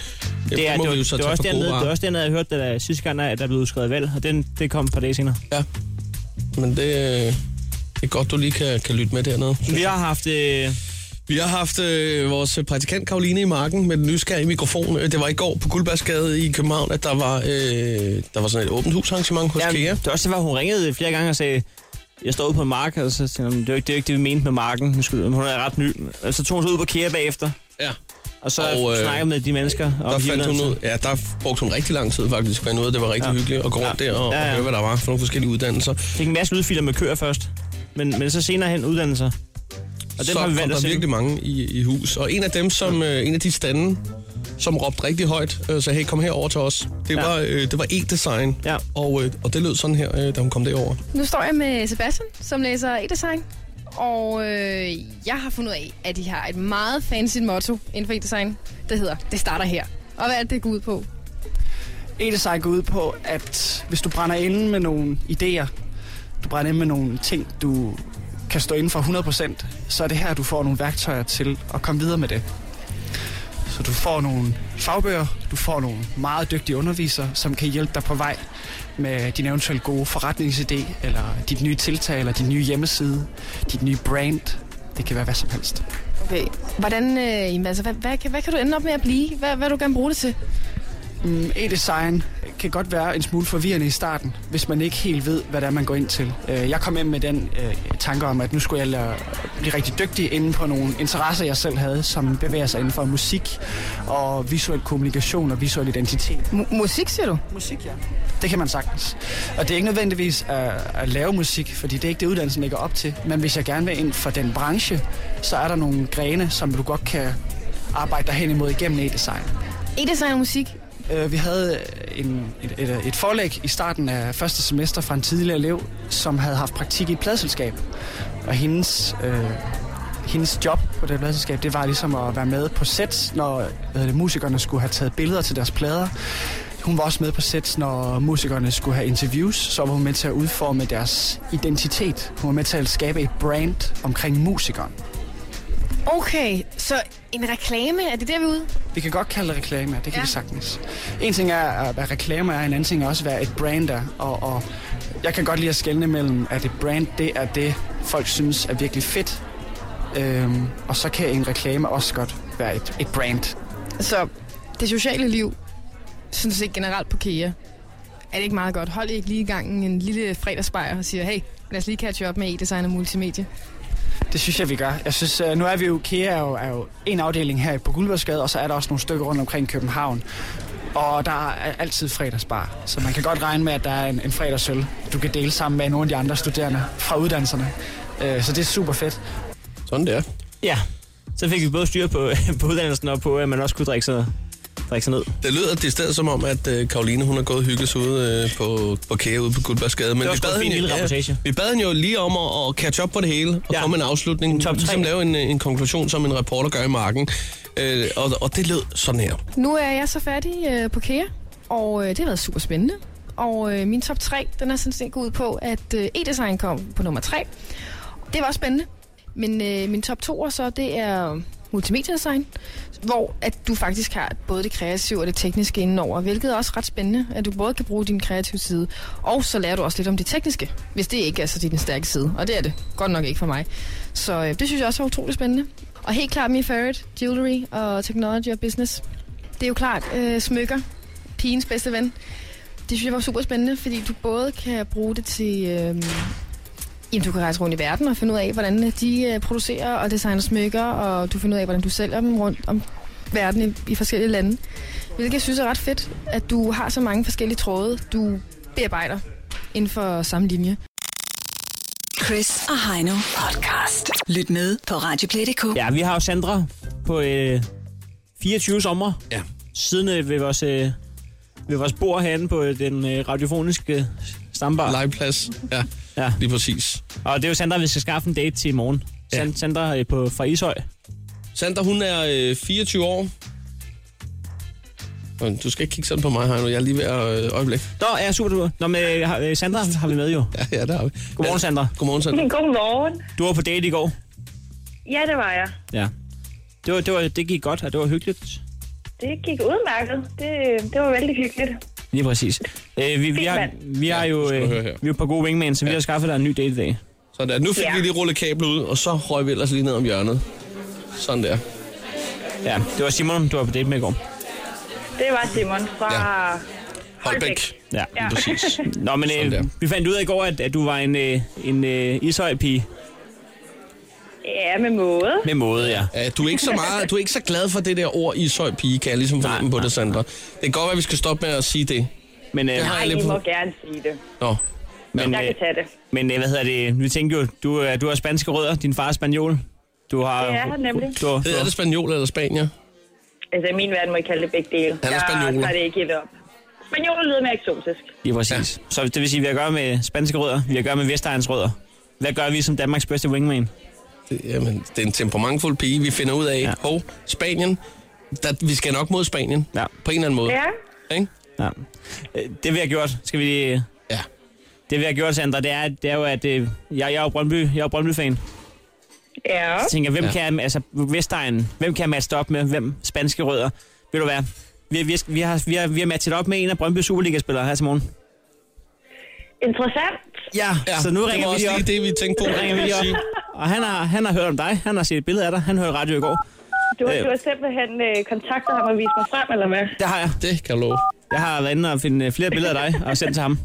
Det er,
må
det,
vi
var,
jo så
det, var
tage
også
for
dernede,
gode
det var
varer.
også dernede, jeg hørte, at der, sidste gang, at der blev udskrevet valg, og den, det kom et par dage senere.
Ja. Men det, øh, det er godt, du lige kan, kan lytte med dernede.
Vi har haft... Øh...
Vi har haft øh, vores praktikant Karoline i marken med den nysgerrige mikrofon. Øh, Det var i går på Guldbergsgade i København, at der var, øh, der var sådan et åbent hus arrangement hos
Jamen,
Kea.
Det var også det, hvor hun ringede flere gange og sagde, jeg står ude på en mark, og så sagde hun, det er jo ikke det, er jo ikke det vi mente med marken. Hun, skulle, hun er ret ny. Og så tog hun sig ud på Kea bagefter.
Ja.
Og så
Og,
og,
øh,
øh, snakkede med de mennesker. om
Der, fandt hun
Jylland.
ud, ja, der brugte hun rigtig lang tid faktisk, fandt ud af, at det var rigtig
Ja.
ja. hyggeligt at gå rundt
Ja.
der og,
Ja,
ja,
ja.
ja. og høre, hvad der var for nogle forskellige uddannelser.
Fik en masse lydfiler med køer først. Men, men så senere hen uddannelser. Og den
så
har vi
kom
valgt
der
at sende.
virkelig mange i, i hus. Og en af dem, som øh, en af de stande, som råbte rigtig højt, øh, sagde, hey, kom herover til os. Det
Ja.
var, øh, det var e-design,
ja.
og, øh, og det lød sådan her, øh, da hun kom derover.
Nu står jeg med Sebastian, som læser e-design. Og øh, jeg har fundet ud af, at de har et meget fancy motto inden for e-design. Det hedder, det starter her. Og hvad er det, det går ud på?
E-design går ud på, at hvis du brænder inde med nogle idéer, du brænder inde med nogle ting, du kan stå inden for 100%, så er det her, du får nogle værktøjer til at komme videre med det. Så du får nogle fagbøger, du får nogle meget dygtige undervisere, som kan hjælpe dig på vej med din eventuelt gode forretningsidé, eller dit nye tiltag, eller din nye hjemmeside, dit nye brand. Det kan være hvad som helst.
Okay. Hvordan, øh, jamen, altså, hvad, hvad, kan, hvad kan du ende op med at blive? Hvad, hvad vil du gerne bruge det til?
Mm, E-design kan godt være en smule forvirrende i starten, hvis man ikke helt ved, hvad det er, man går ind til. Øh, Jeg kom ind med den øh, tanke om, at nu skulle jeg lade- blive rigtig dygtig inden på nogle interesser, jeg selv havde, som bevæger sig inden for musik og visuel kommunikation og visuel identitet.
M- musik, siger du?
Musik, ja. Det kan man sagtens. Og det er ikke nødvendigvis at, at lave musik, fordi det er ikke det, uddannelsen ligger op til. Men hvis jeg gerne vil ind for den branche, så er der nogle grene, som du godt kan arbejde dig hen imod igennem e-design.
E-design og musik.
Øh, Vi havde en, et, et, et forlæg i starten af første semester fra en tidligere elev, som havde haft praktik i et pladselskab. Og hendes, øh, hendes job på det pladselskab, det var ligesom at være med på sæt, når hvad hedder det, musikerne skulle have taget billeder til deres plader. Hun var også med på sæt, når musikerne skulle have interviews, så var hun med til at udforme deres identitet. Hun var med til at skabe et brand omkring musikeren.
Okay, så en reklame, er det der, vi er ude?
Vi kan godt kalde det reklamer, det kan
Ja.
ja. vi sagtens. En ting er, øh, hvad reklamer er, en anden ting er også, hvad et brand er. Og, og jeg kan godt lide at skelne mellem, at et brand, det er det, folk synes er virkelig fedt. Øhm, og så kan en reklame også godt være et, et brand.
Så det sociale liv, synes jeg generelt på KEA, er det ikke meget godt. Hold I ikke lige i gangen en lille fredagsbajer og siger, hey, lad os lige catch op med e-design og multimedie.
Det synes jeg, vi gør. Jeg synes, øh, nu er vi jo, KEA er jo, er jo en afdeling her på Guldbergsgade, og så er der også nogle stykker rundt omkring København. Og der er altid fredagsbar, så man kan godt regne med, at der er en, en fredagsøl, du kan dele sammen med nogle af de andre studerende fra uddannelserne. Øh, så det er super fedt.
Sådan der.
Ja. Så fik vi både styr på, på uddannelsen og på, at man også kunne drikke sig drikke sig ned.
Det lyder det sted som om, at øh, Karoline hun har gået og hygget sig ude øh, på, på kære ude på Guldbergsgade. Men
Det var
vi
sgu
bad
en fin
hende-
lille reportage.
Vi bad hende jo lige om at, at catch up på det hele og ja. komme med en afslutning. En top ligesom lave en, øh, en konklusion, som en reporter gør i marken. Øh, og, og det lød sådan her.
Nu er jeg så færdig øh, på KEA, og øh, det har været super spændende. Og øh, min top 3, den er sådan set gået ud på, at øh, e-design kom på nummer 3. Det var også spændende. Men øh, min top 2 så, det er multimediedesign, hvor at du faktisk har både det kreative og det tekniske indenover, hvilket er også ret spændende, at du både kan bruge din kreative side, og så lærer du også lidt om det tekniske, hvis det ikke er så din stærke side. Og det er det godt nok ikke for mig. Så øh, det synes jeg også var utrolig spændende. Og helt klart min favorite, jewelry og technology og business. Det er jo klart øh, smykker, pigens bedste ven. Det synes jeg var super spændende, fordi du både kan bruge det til... Øh, Jamen, du kan rejse rundt i verden og finde ud af, hvordan de øh, producerer og designer smykker, og du finder ud af, hvordan du sælger dem rundt om verden i, i forskellige lande. Hvilket jeg synes er ret fedt, at du har så mange forskellige tråde, du bearbejder inden for samme linje.
Chris og Heino podcast. Lyt med på Radioplay.dk.
Ja, vi har jo Sandra på øh, 24 sommer.
Ja.
Siden øh, ved, vores, øh, ved vores bord herinde på øh, den øh, radiofoniske stambar.
Legeplads, ja.
ja.
Lige præcis.
Og det er jo Sandra, vi skal skaffe en date til i morgen. Ja. Sand, Sandra øh, på, fra Ishøj.
Sandra, hun er øh, 24 år. Og Du skal ikke kigge sådan på mig, Heino. Jeg er lige ved at øh, øjeblik.
Nå, ja, super. Du. Nå, men øh, har- øh, Sandra har vi med jo.
Ja, ja, der har vi.
Godmorgen, Sandra.
Godmorgen, Sandra.
Godmorgen. Du var på date i går.
Ja, det var jeg.
Ja. Det, var, det, var, det gik godt, og det var hyggeligt.
Det gik udmærket. Det, det var vældig hyggeligt.
Lige præcis. Øh, vi, vi, har, vi har jo øh, vi er jo et par gode wingman, så vi har skaffet dig en ny date i dag.
Så der, nu fik
Ja.
vi lige rullet kablet ud, og så røg vi ellers lige ned om hjørnet. Sådan der.
Ja, det var Simon, du var på date med i går.
Det var Simon fra ja.
Ja,
Ja. præcis.
Nå, men
Sådan
øh,
der.
vi fandt ud af i går, at, at du var en, øh, en øh, ishøj-pige.
Ja, med måde.
Med måde, ja.
Ja, du er ikke så meget, du er ikke så glad for det der ord ishøj pige, kan jeg ligesom fornemme på det, Sandra. Det kan godt være, at vi skal stoppe med at sige det.
Men, øh,
det
Nej, I må gerne sige det.
Nå.
Men,
Jeg
øh,
kan tage det.
men øh, hvad hedder det? Vi tænkte jo, du, øh, du har spanske rødder. Din far er spanjol. Du har...
Det er han nemlig.
Du, du,
Hedder det spanjol eller spanier?
Altså, i min verden må I kalde det begge dele.
Han er
Jeg
spanioler.
tager det ikke helt op. Spanioler lyder mere eksotisk.
Ja, præcis. Ja. Så det vil sige, at vi har at gøre med spanske rødder, vi har at gøre med Vestegns rødder. Hvad gør vi som Danmarks bedste wingman?
Det, jamen, det er en temperamentfuld pige, vi finder ud af. Ja. Hov, Spanien. Der, vi skal nok mod Spanien.
Ja.
På en eller anden måde. Ja. Ikke?
Ja. Øh, Det vi har gjort, skal vi lige...
Ja.
Det vi har gjort, Sandra, det er, det er jo, at øh, jeg, jeg er jo Brøndby, jeg er jo Brøndby-fan.
Ja.
Så tænker jeg, hvem
Ja.
ja. kan jeg, altså Vestegn, hvem kan jeg matche op med? Hvem spanske rødder? Ved du hvad? Vi, vi, vi, har, vi, har, vi har matchet op med en af Brøndby Superliga-spillere her til morgen.
Interessant.
Ja, så nu ringer vi
også
lige op.
lige det, vi tænkte på.
Nu ringer vi
kan
lige
man sige.
op. Og han har, han har hørt om dig, han har set et billede af dig, han hørte radio i går.
Du, har-
Øh.
du har simpelthen øh, kontaktet ham og vist mig frem, eller hvad?
Det har jeg.
Det kan jeg love.
Jeg har været inde og finde øh, flere billeder af dig og sendt til ham.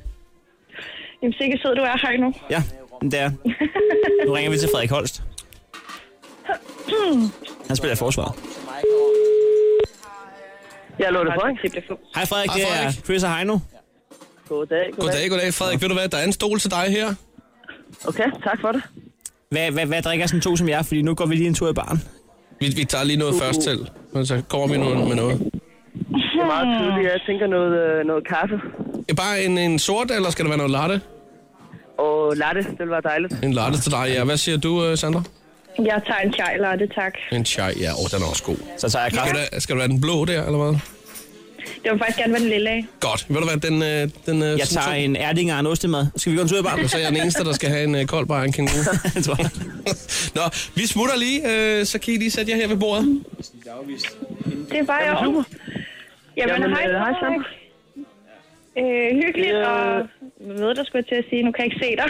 Jamen, sikkert sød, du er her nu.
Ja, det er. Nu ringer vi til Frederik Holst. Han spiller i forsvaret.
Jeg lå det Frederik.
Hej Frederik, det er Chris og Heino.
Goddag,
Goddag, goddag, Frederik. Ved du hvad, der er en stol til dig her.
Okay, tak for det.
Hvad, hvad, hvad drikker sådan to som jeg? Fordi nu går vi lige en tur i baren.
Vi, vi tager lige noget først til, og så kommer vi nu med noget.
Det er meget tydeligt, jeg tænker noget, øh, noget kaffe.
Ja, bare en, en sort, eller skal det være noget latte?
Og latte, det ville være dejligt.
En latte til dig, ja. Hvad siger du, øh, Sandra?
Jeg tager en chai latte, tak.
En chai, ja. Åh, oh, den er også god.
Så tager jeg
kaffe. Skal, det- skal det være den blå der, eller hvad?
Det var faktisk gerne være den lille af.
Godt. Ved du hvad, den... Øh, den øh,
Jeg tager en ærdinger og en ostemad. Skal vi gå en tur i baren?
Så er jeg den eneste, der skal have en øh, kold bare en kænguru. Nå, vi smutter lige, øh, så kan I lige sætte jer her ved bordet.
Det er bare jeg. Super. Jamen,
Jamen,
Jamen, hej,
øh, hej,
Frederik.
Sandra.
Øh, hyggeligt,
Ja.
og jeg ved, der skulle jeg til at sige, nu kan jeg ikke se dig.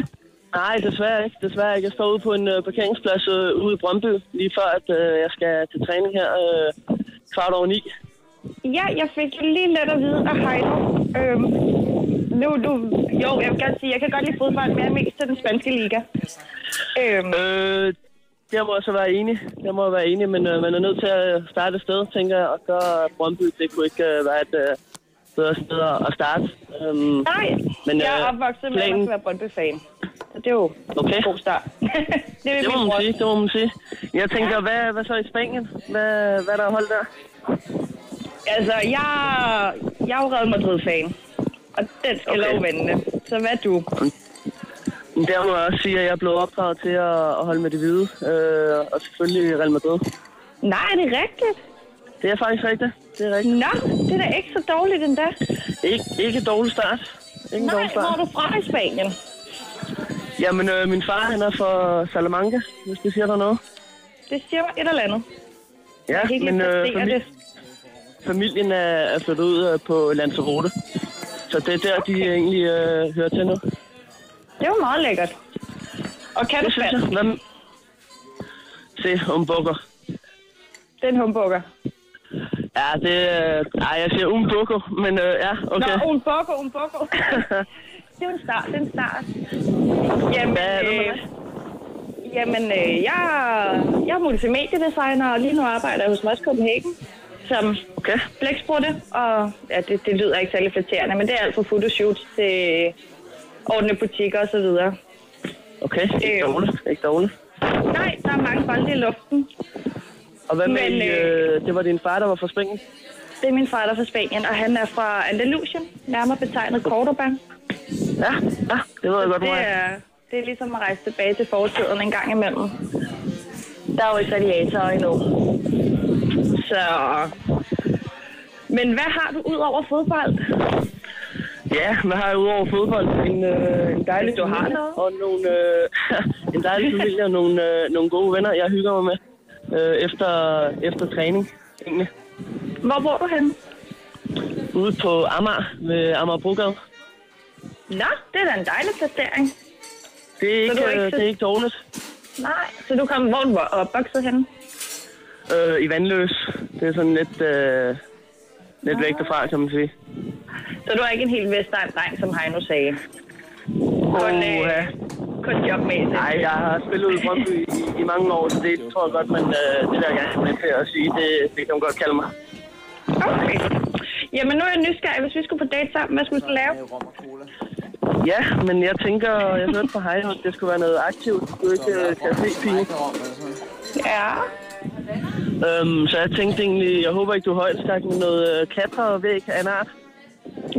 Nej, desværre ikke. Desværre ikke. Jeg står ude på en øh, parkeringsplads øh, ude i Brøndby, lige før at øh, jeg skal til træning her øh, kvart over ni.
ja, jeg fik jo lige lidt at vide af Heino. Øhm, nu, nu, jo, jeg vil gerne sige, jeg kan godt lide fodbold, men jeg er mest til den spanske liga. Øhm.
Øh, jeg må så være enig. Jeg må være enig, men øh, man er nødt til at starte et sted, tænker jeg. Og så er Brøndby, det kunne ikke øh, være et øh, bedre sted at starte. Øhm, øh,
Nej, men, jeg er opvokset med, at man skal være Brøndby-fan. Så det er jo okay. en god start. det, er
det må
min
man
bror.
sige, det må man sige. Jeg tænker, hvad, hvad så i Spanien? Hvad, hvad er der hold der?
Altså, jeg, jeg er jo Real Madrid-fan. Og den skal okay. love vandene. Så hvad du?
Men der må jeg også sige, at jeg er blevet opdraget til at, at holde med det hvide. Øh, og selvfølgelig Real Madrid.
Nej, er det rigtigt?
Det er faktisk rigtigt. Det er rigtigt.
Nå, det er da ikke så dårligt endda.
Ikke, ikke dårlig start. Ikke
Nej,
dårlig start.
hvor er du fra i Spanien?
Jamen, øh, min far han er fra Salamanca, hvis det siger dig noget.
Det siger mig et eller andet.
Ja,
jeg kan ikke
men
lige
øh,
placere
famili-
det.
familien er, er flyttet ud øh, på Lanzarote. Så det er der, de egentlig øh, hører til nu.
Det var meget lækkert. Og kan du spansk?
Hvem? Se, umbukker.
Den humbukker.
Ja, det... Øh, ej, jeg siger umbukker, men øh, ja, okay.
Nå, um- un poco, un poco. det er jo en start, det er en start. Jamen, øh, jamen øh, jeg, jeg er multimediedesigner, og lige nu arbejder jeg hos Mods Copenhagen som okay. blæksprutte. Og ja, det, det lyder ikke særlig flatterende, men det er alt fra fotoshoots til ordne butikker osv.
Okay, ikke dårligt, ikke dårligt.
Nej, der er mange bolde i luften.
Og hvad med,
Men,
men, øh, det var din far, der var fra Spanien?
Det er min far, der er fra Spanien, og han er fra Andalusien, nærmere betegnet Cordoba.
Ja, ja det ved jeg godt, hvor
det
er.
er, det er ligesom at rejse tilbage til fortiden en gang imellem. Der er jo ikke radiatorer endnu. Så... Men hvad har du ud over fodbold?
Ja, hvad har jeg udover fodbold? En, øh, en dejlig
Du har
familie
noget?
og nogle, øh, en dejlig familie og nogle, øh, nogle gode venner, jeg hygger mig med øh, efter, efter træning. Egentlig.
Hvor bor du henne?
Ude på Amager ved Amager Brogade.
Nå, det er da en dejlig placering.
Det er
Så
ikke,
du er ikke
øh,
så-
det er ikke dårligt.
Nej, så du kom, hvor er du var opvokset henne?
Øh, I Vandløs. Det er sådan lidt, øh, lidt væk derfra, kan man sige.
Så du er ikke en helt vestegn dreng, som Heino sagde. Kun,
Oha.
øh, kun jobmæssigt.
Nej, jeg har spillet ude i Brøndby i, i mange år, så det tror jeg godt, men øh, det der, jeg er med til at sige, det, det kan man godt kalde mig.
Okay. Jamen, nu er jeg nysgerrig. Hvis vi skulle på date sammen, hvad skulle vi så lave?
Ja, men jeg tænker, jeg hørte fra Heino, at det skulle være noget aktivt. Du ikke øh, kan se pige.
Ja.
Øhm, så jeg tænkte egentlig, jeg håber ikke, du er højdeskræk med noget øh, klatre og væg af en art.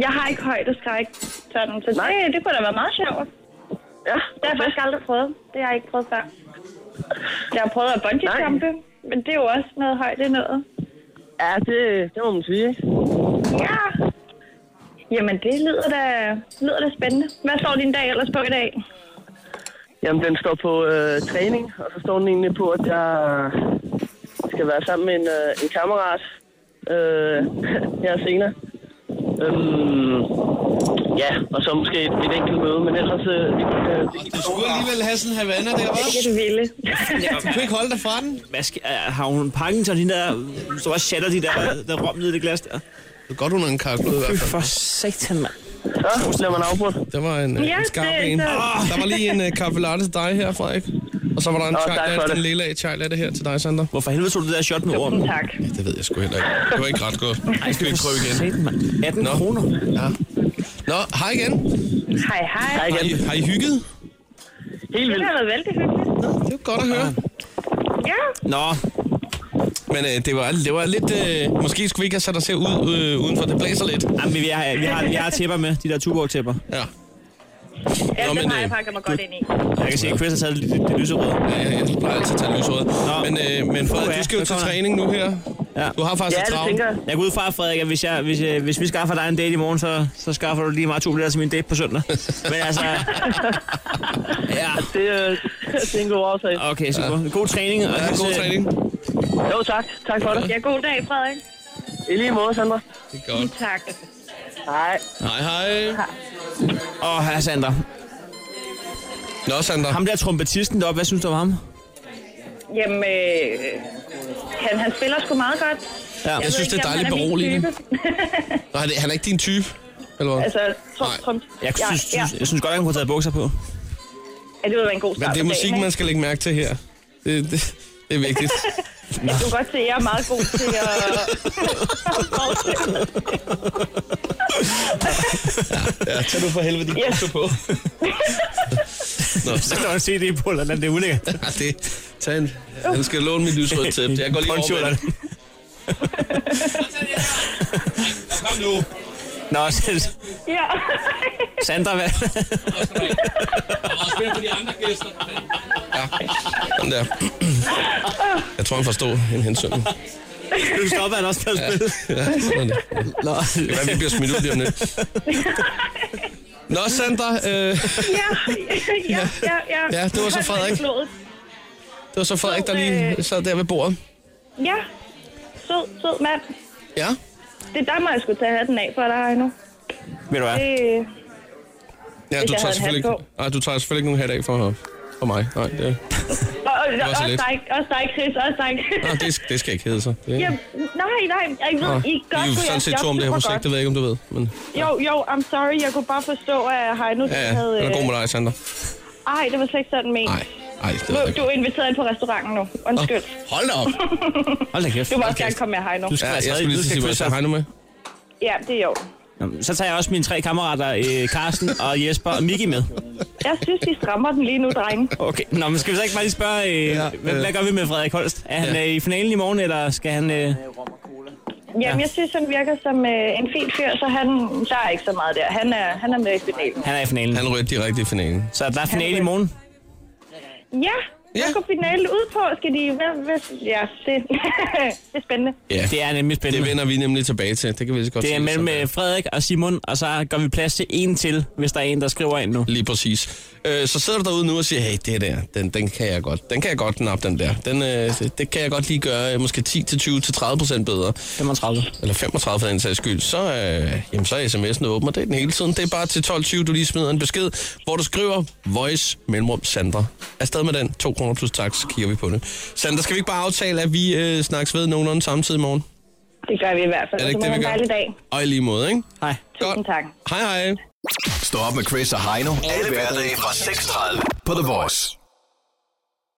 Jeg har ikke højdeskræk, sådan, så det, det kunne da være meget sjovt.
Ja.
Det har jeg faktisk aldrig prøvet. Det har jeg ikke prøvet før. Jeg har prøvet at bungee-jumpe, men det er jo også noget højde noget.
Ja, det, det må man sige, ikke?
Ja. Jamen, det lyder da, lyder da spændende. Hvad står din dag ellers på i dag?
Jamen, den står på øh, træning, og så står den egentlig på, at jeg skal være sammen med en, øh, en kammerat øh, her senere. Øhm, ja, og så måske et, et enkelt møde, men ellers... Øh, vi, øh, vi,
Du skulle alligevel have sådan en Havana der, hva'?
Ikke det vilde.
Du kunne ikke holde dig fra den?
Hvad skal, øh, har hun pakken til de der... Hvis du bare shatter de der, der rom ned i det glas der.
Det er godt, hun har en karklud i hvert fald.
For satan, mand.
Så bliver man afbrudt.
Der var en, øh,
Ja,
en skarp
det er
en.
så-
Der var lige en uh, kaffe latte til dig her, Frederik. Og så var der en,
Nå,
chai
tak for
latte,
det.
en lille af chai latte her til dig, Sander.
Hvorfor helvede tog du det der shot med
Mm,
ormen?
Tak.
Ja, det ved jeg sgu heller ikke. Det var ikke ret godt. Nu skal vi prøve igen.
18 Nå. kroner.
Ja. Nå, hej igen.
Hej, hej.
Har I, har I hygget?
Helt
Det har været vældig hyggeligt.
Det var godt at høre.
Ja.
Nå.
Men øh, det, var, det var lidt... Øh, måske skulle vi ikke have sat os her ud, øh, udenfor. Det blæser lidt.
Jamen, vi, har, vi, har, vi har tæpper med, de der Tuborg-tæpper.
Ja.
Ja,
Nå,
den
men,
har jeg
øh,
pakket mig godt ind i.
Jeg kan se, at Chris har taget det, det, det lyserøde.
Ja, ja, jeg plejer altid at tage lyserøde. Men, øh, men Frederik, du skal jo til træning nu her.
Ja.
Du har faktisk
ja,
lidt
det
travlt.
tænker jeg. Jeg går ud fra, Frederik, at hvis, jeg, hvis, jeg, hvis vi skaffer dig en date i morgen, så, så skaffer du lige meget to billetter til min date på søndag. Men altså... ja.
Det, øh, det er en god aftale.
Okay, super. God træning. Og
Ja, god træning. Jo, tak. Tak for det.
Ja, god dag, Frederik.
I lige måde, Sandra.
Det er godt.
Tak.
Hej.
Hej, hej.
Åh, her Sander.
Nå, Sander.
Ham der trompetisten deroppe, hvad synes du om ham?
Jamen, øh, han, han spiller sgu meget godt.
Ja. Jeg
ved
synes, det er
ikke, om
dejligt
han min
beroligende.
type.
Nej, det- han er ikke din type, eller hvad?
Altså, trum, trum,
Jeg
ja,
synes,
ja,
synes, jeg synes godt, at han kunne have taget bukser på.
ja, det ville være en god
Men
start
det er
på
musik,
dagen,
man skal lægge mærke til her. Det, det, det er vigtigt.
ikke? Jeg kan godt se, at jeg er meget god til at...
Ja, tag du for helvede din bukser på. Nå.
Så kan du se det på, eller andet, det er ulækkert.
Ja, det, tag en, han skal låne mit lysrøde tæppe. Jeg går lige over med det.
nu.
Nå, så-
Ja.
Sandra, hvad?
Også mere på de andre gæster. Ja, sådan der. Jeg tror, han forstår en hensyn.
Nu stopper han også med at spille.
Ja, sådan det. Det kan være, vi bliver smidt ud lige om lidt. Nå, Sandra, øh,
ja, ja, ja, ja.
Ja, det var så Frederik. det var så Frederik, der lige sad der ved bordet.
Ja. Sød, sød mand.
Ja.
Det er der, må jeg skulle tage hatten af for dig nu.
Ved du hvad?
Det,
Ja,
Hvis
du
jeg havde en
tager selvfølgelig
hat
ikke, nej, du tager selvfølgelig ikke nogen hat af for, for mig. Nej, det,
og, og,
Det var så
også
lidt.
dig, også dig, Chris, også dig.
nej, det, det skal ikke hedde sig. Det,
Ja, nej, nej, jeg ved,
Nå,
I godt
vi er jo
kunne
sådan
jeres
set
job
to om det her
super
projekt,
godt.
det ved jeg ikke, om du ved. Men,
Jo, jo, I'm sorry, jeg kunne bare forstå, at Heino
ja, ja,
havde...
den er god med
øh,
dig, Sandra.
Ej, det var slet ikke sådan ment.
Ej, det
Nu,
er
du er inviteret ind på restauranten nu. Undskyld.
Hold da op.
Hold da kæft.
Du må
Hold
også gerne
kæft.
komme med Heino.
Du skal
Ja,
være
jeg
stadig-
skulle lige
du
sige,
skal
hvor jeg tager Heino med.
Ja, det er jo.
Nå, Så tager jeg også mine tre kammerater, øh, Carsten og Jesper og Miki med.
Jeg synes, de strammer den lige nu, drenge.
Okay, nå, men skal vi så ikke bare lige spørge, øh, ja, hvad,
øh.
hvad gør vi med Frederik Holst? Er han
Ja.
øh, i finalen i morgen, eller skal han... Øh...
Jamen, jeg synes, han virker som øh, en fin fyr, så han, der er ikke så meget der. Han er, han er med i finalen.
Han er i finalen.
Han ryger direkte i finalen.
Så der er finale i morgen?
Ja, hvad går finalen ud på? Skal de... Hvad, hvad, ja, det, det er spændende.
Ja.
Det er nemlig spændende.
Det vender vi nemlig tilbage til. Det kan vi lige så godt
Det er
sige,
mellem
så.
øh, Frederik og Simon, og så gør vi plads til en til, hvis der er en, der skriver ind nu.
Lige præcis. Øh, så sidder du derude nu og siger, hey, det der, den, den kan jeg godt. Den kan jeg godt knappe, den der. Den, øh, det, det kan jeg godt lige gøre øh, måske 10-20-30 procent bedre.
35.
Eller 35 for den sags skyld. Så, øh, jamen, så er sms'en åben, og det er den hele tiden. Det er bare til 12.20, du lige smider en besked, hvor du skriver Voice Mellemrum Sandra. Afsted med den. 2 kroner plus tax, så kigger vi på det. Sandra, skal vi ikke bare aftale, at vi øh, snakkes ved nogenlunde samtidig i morgen?
Det gør vi i hvert fald.
Er det
Så
ikke
må have
det, vi
en
gør?
dejlig dag.
Og i lige måde, ikke?
Hej.
Tusind tak.
Hej, hej.
Stå op med Chris og Heino. Alle hverdage fra 6.30 på The Voice.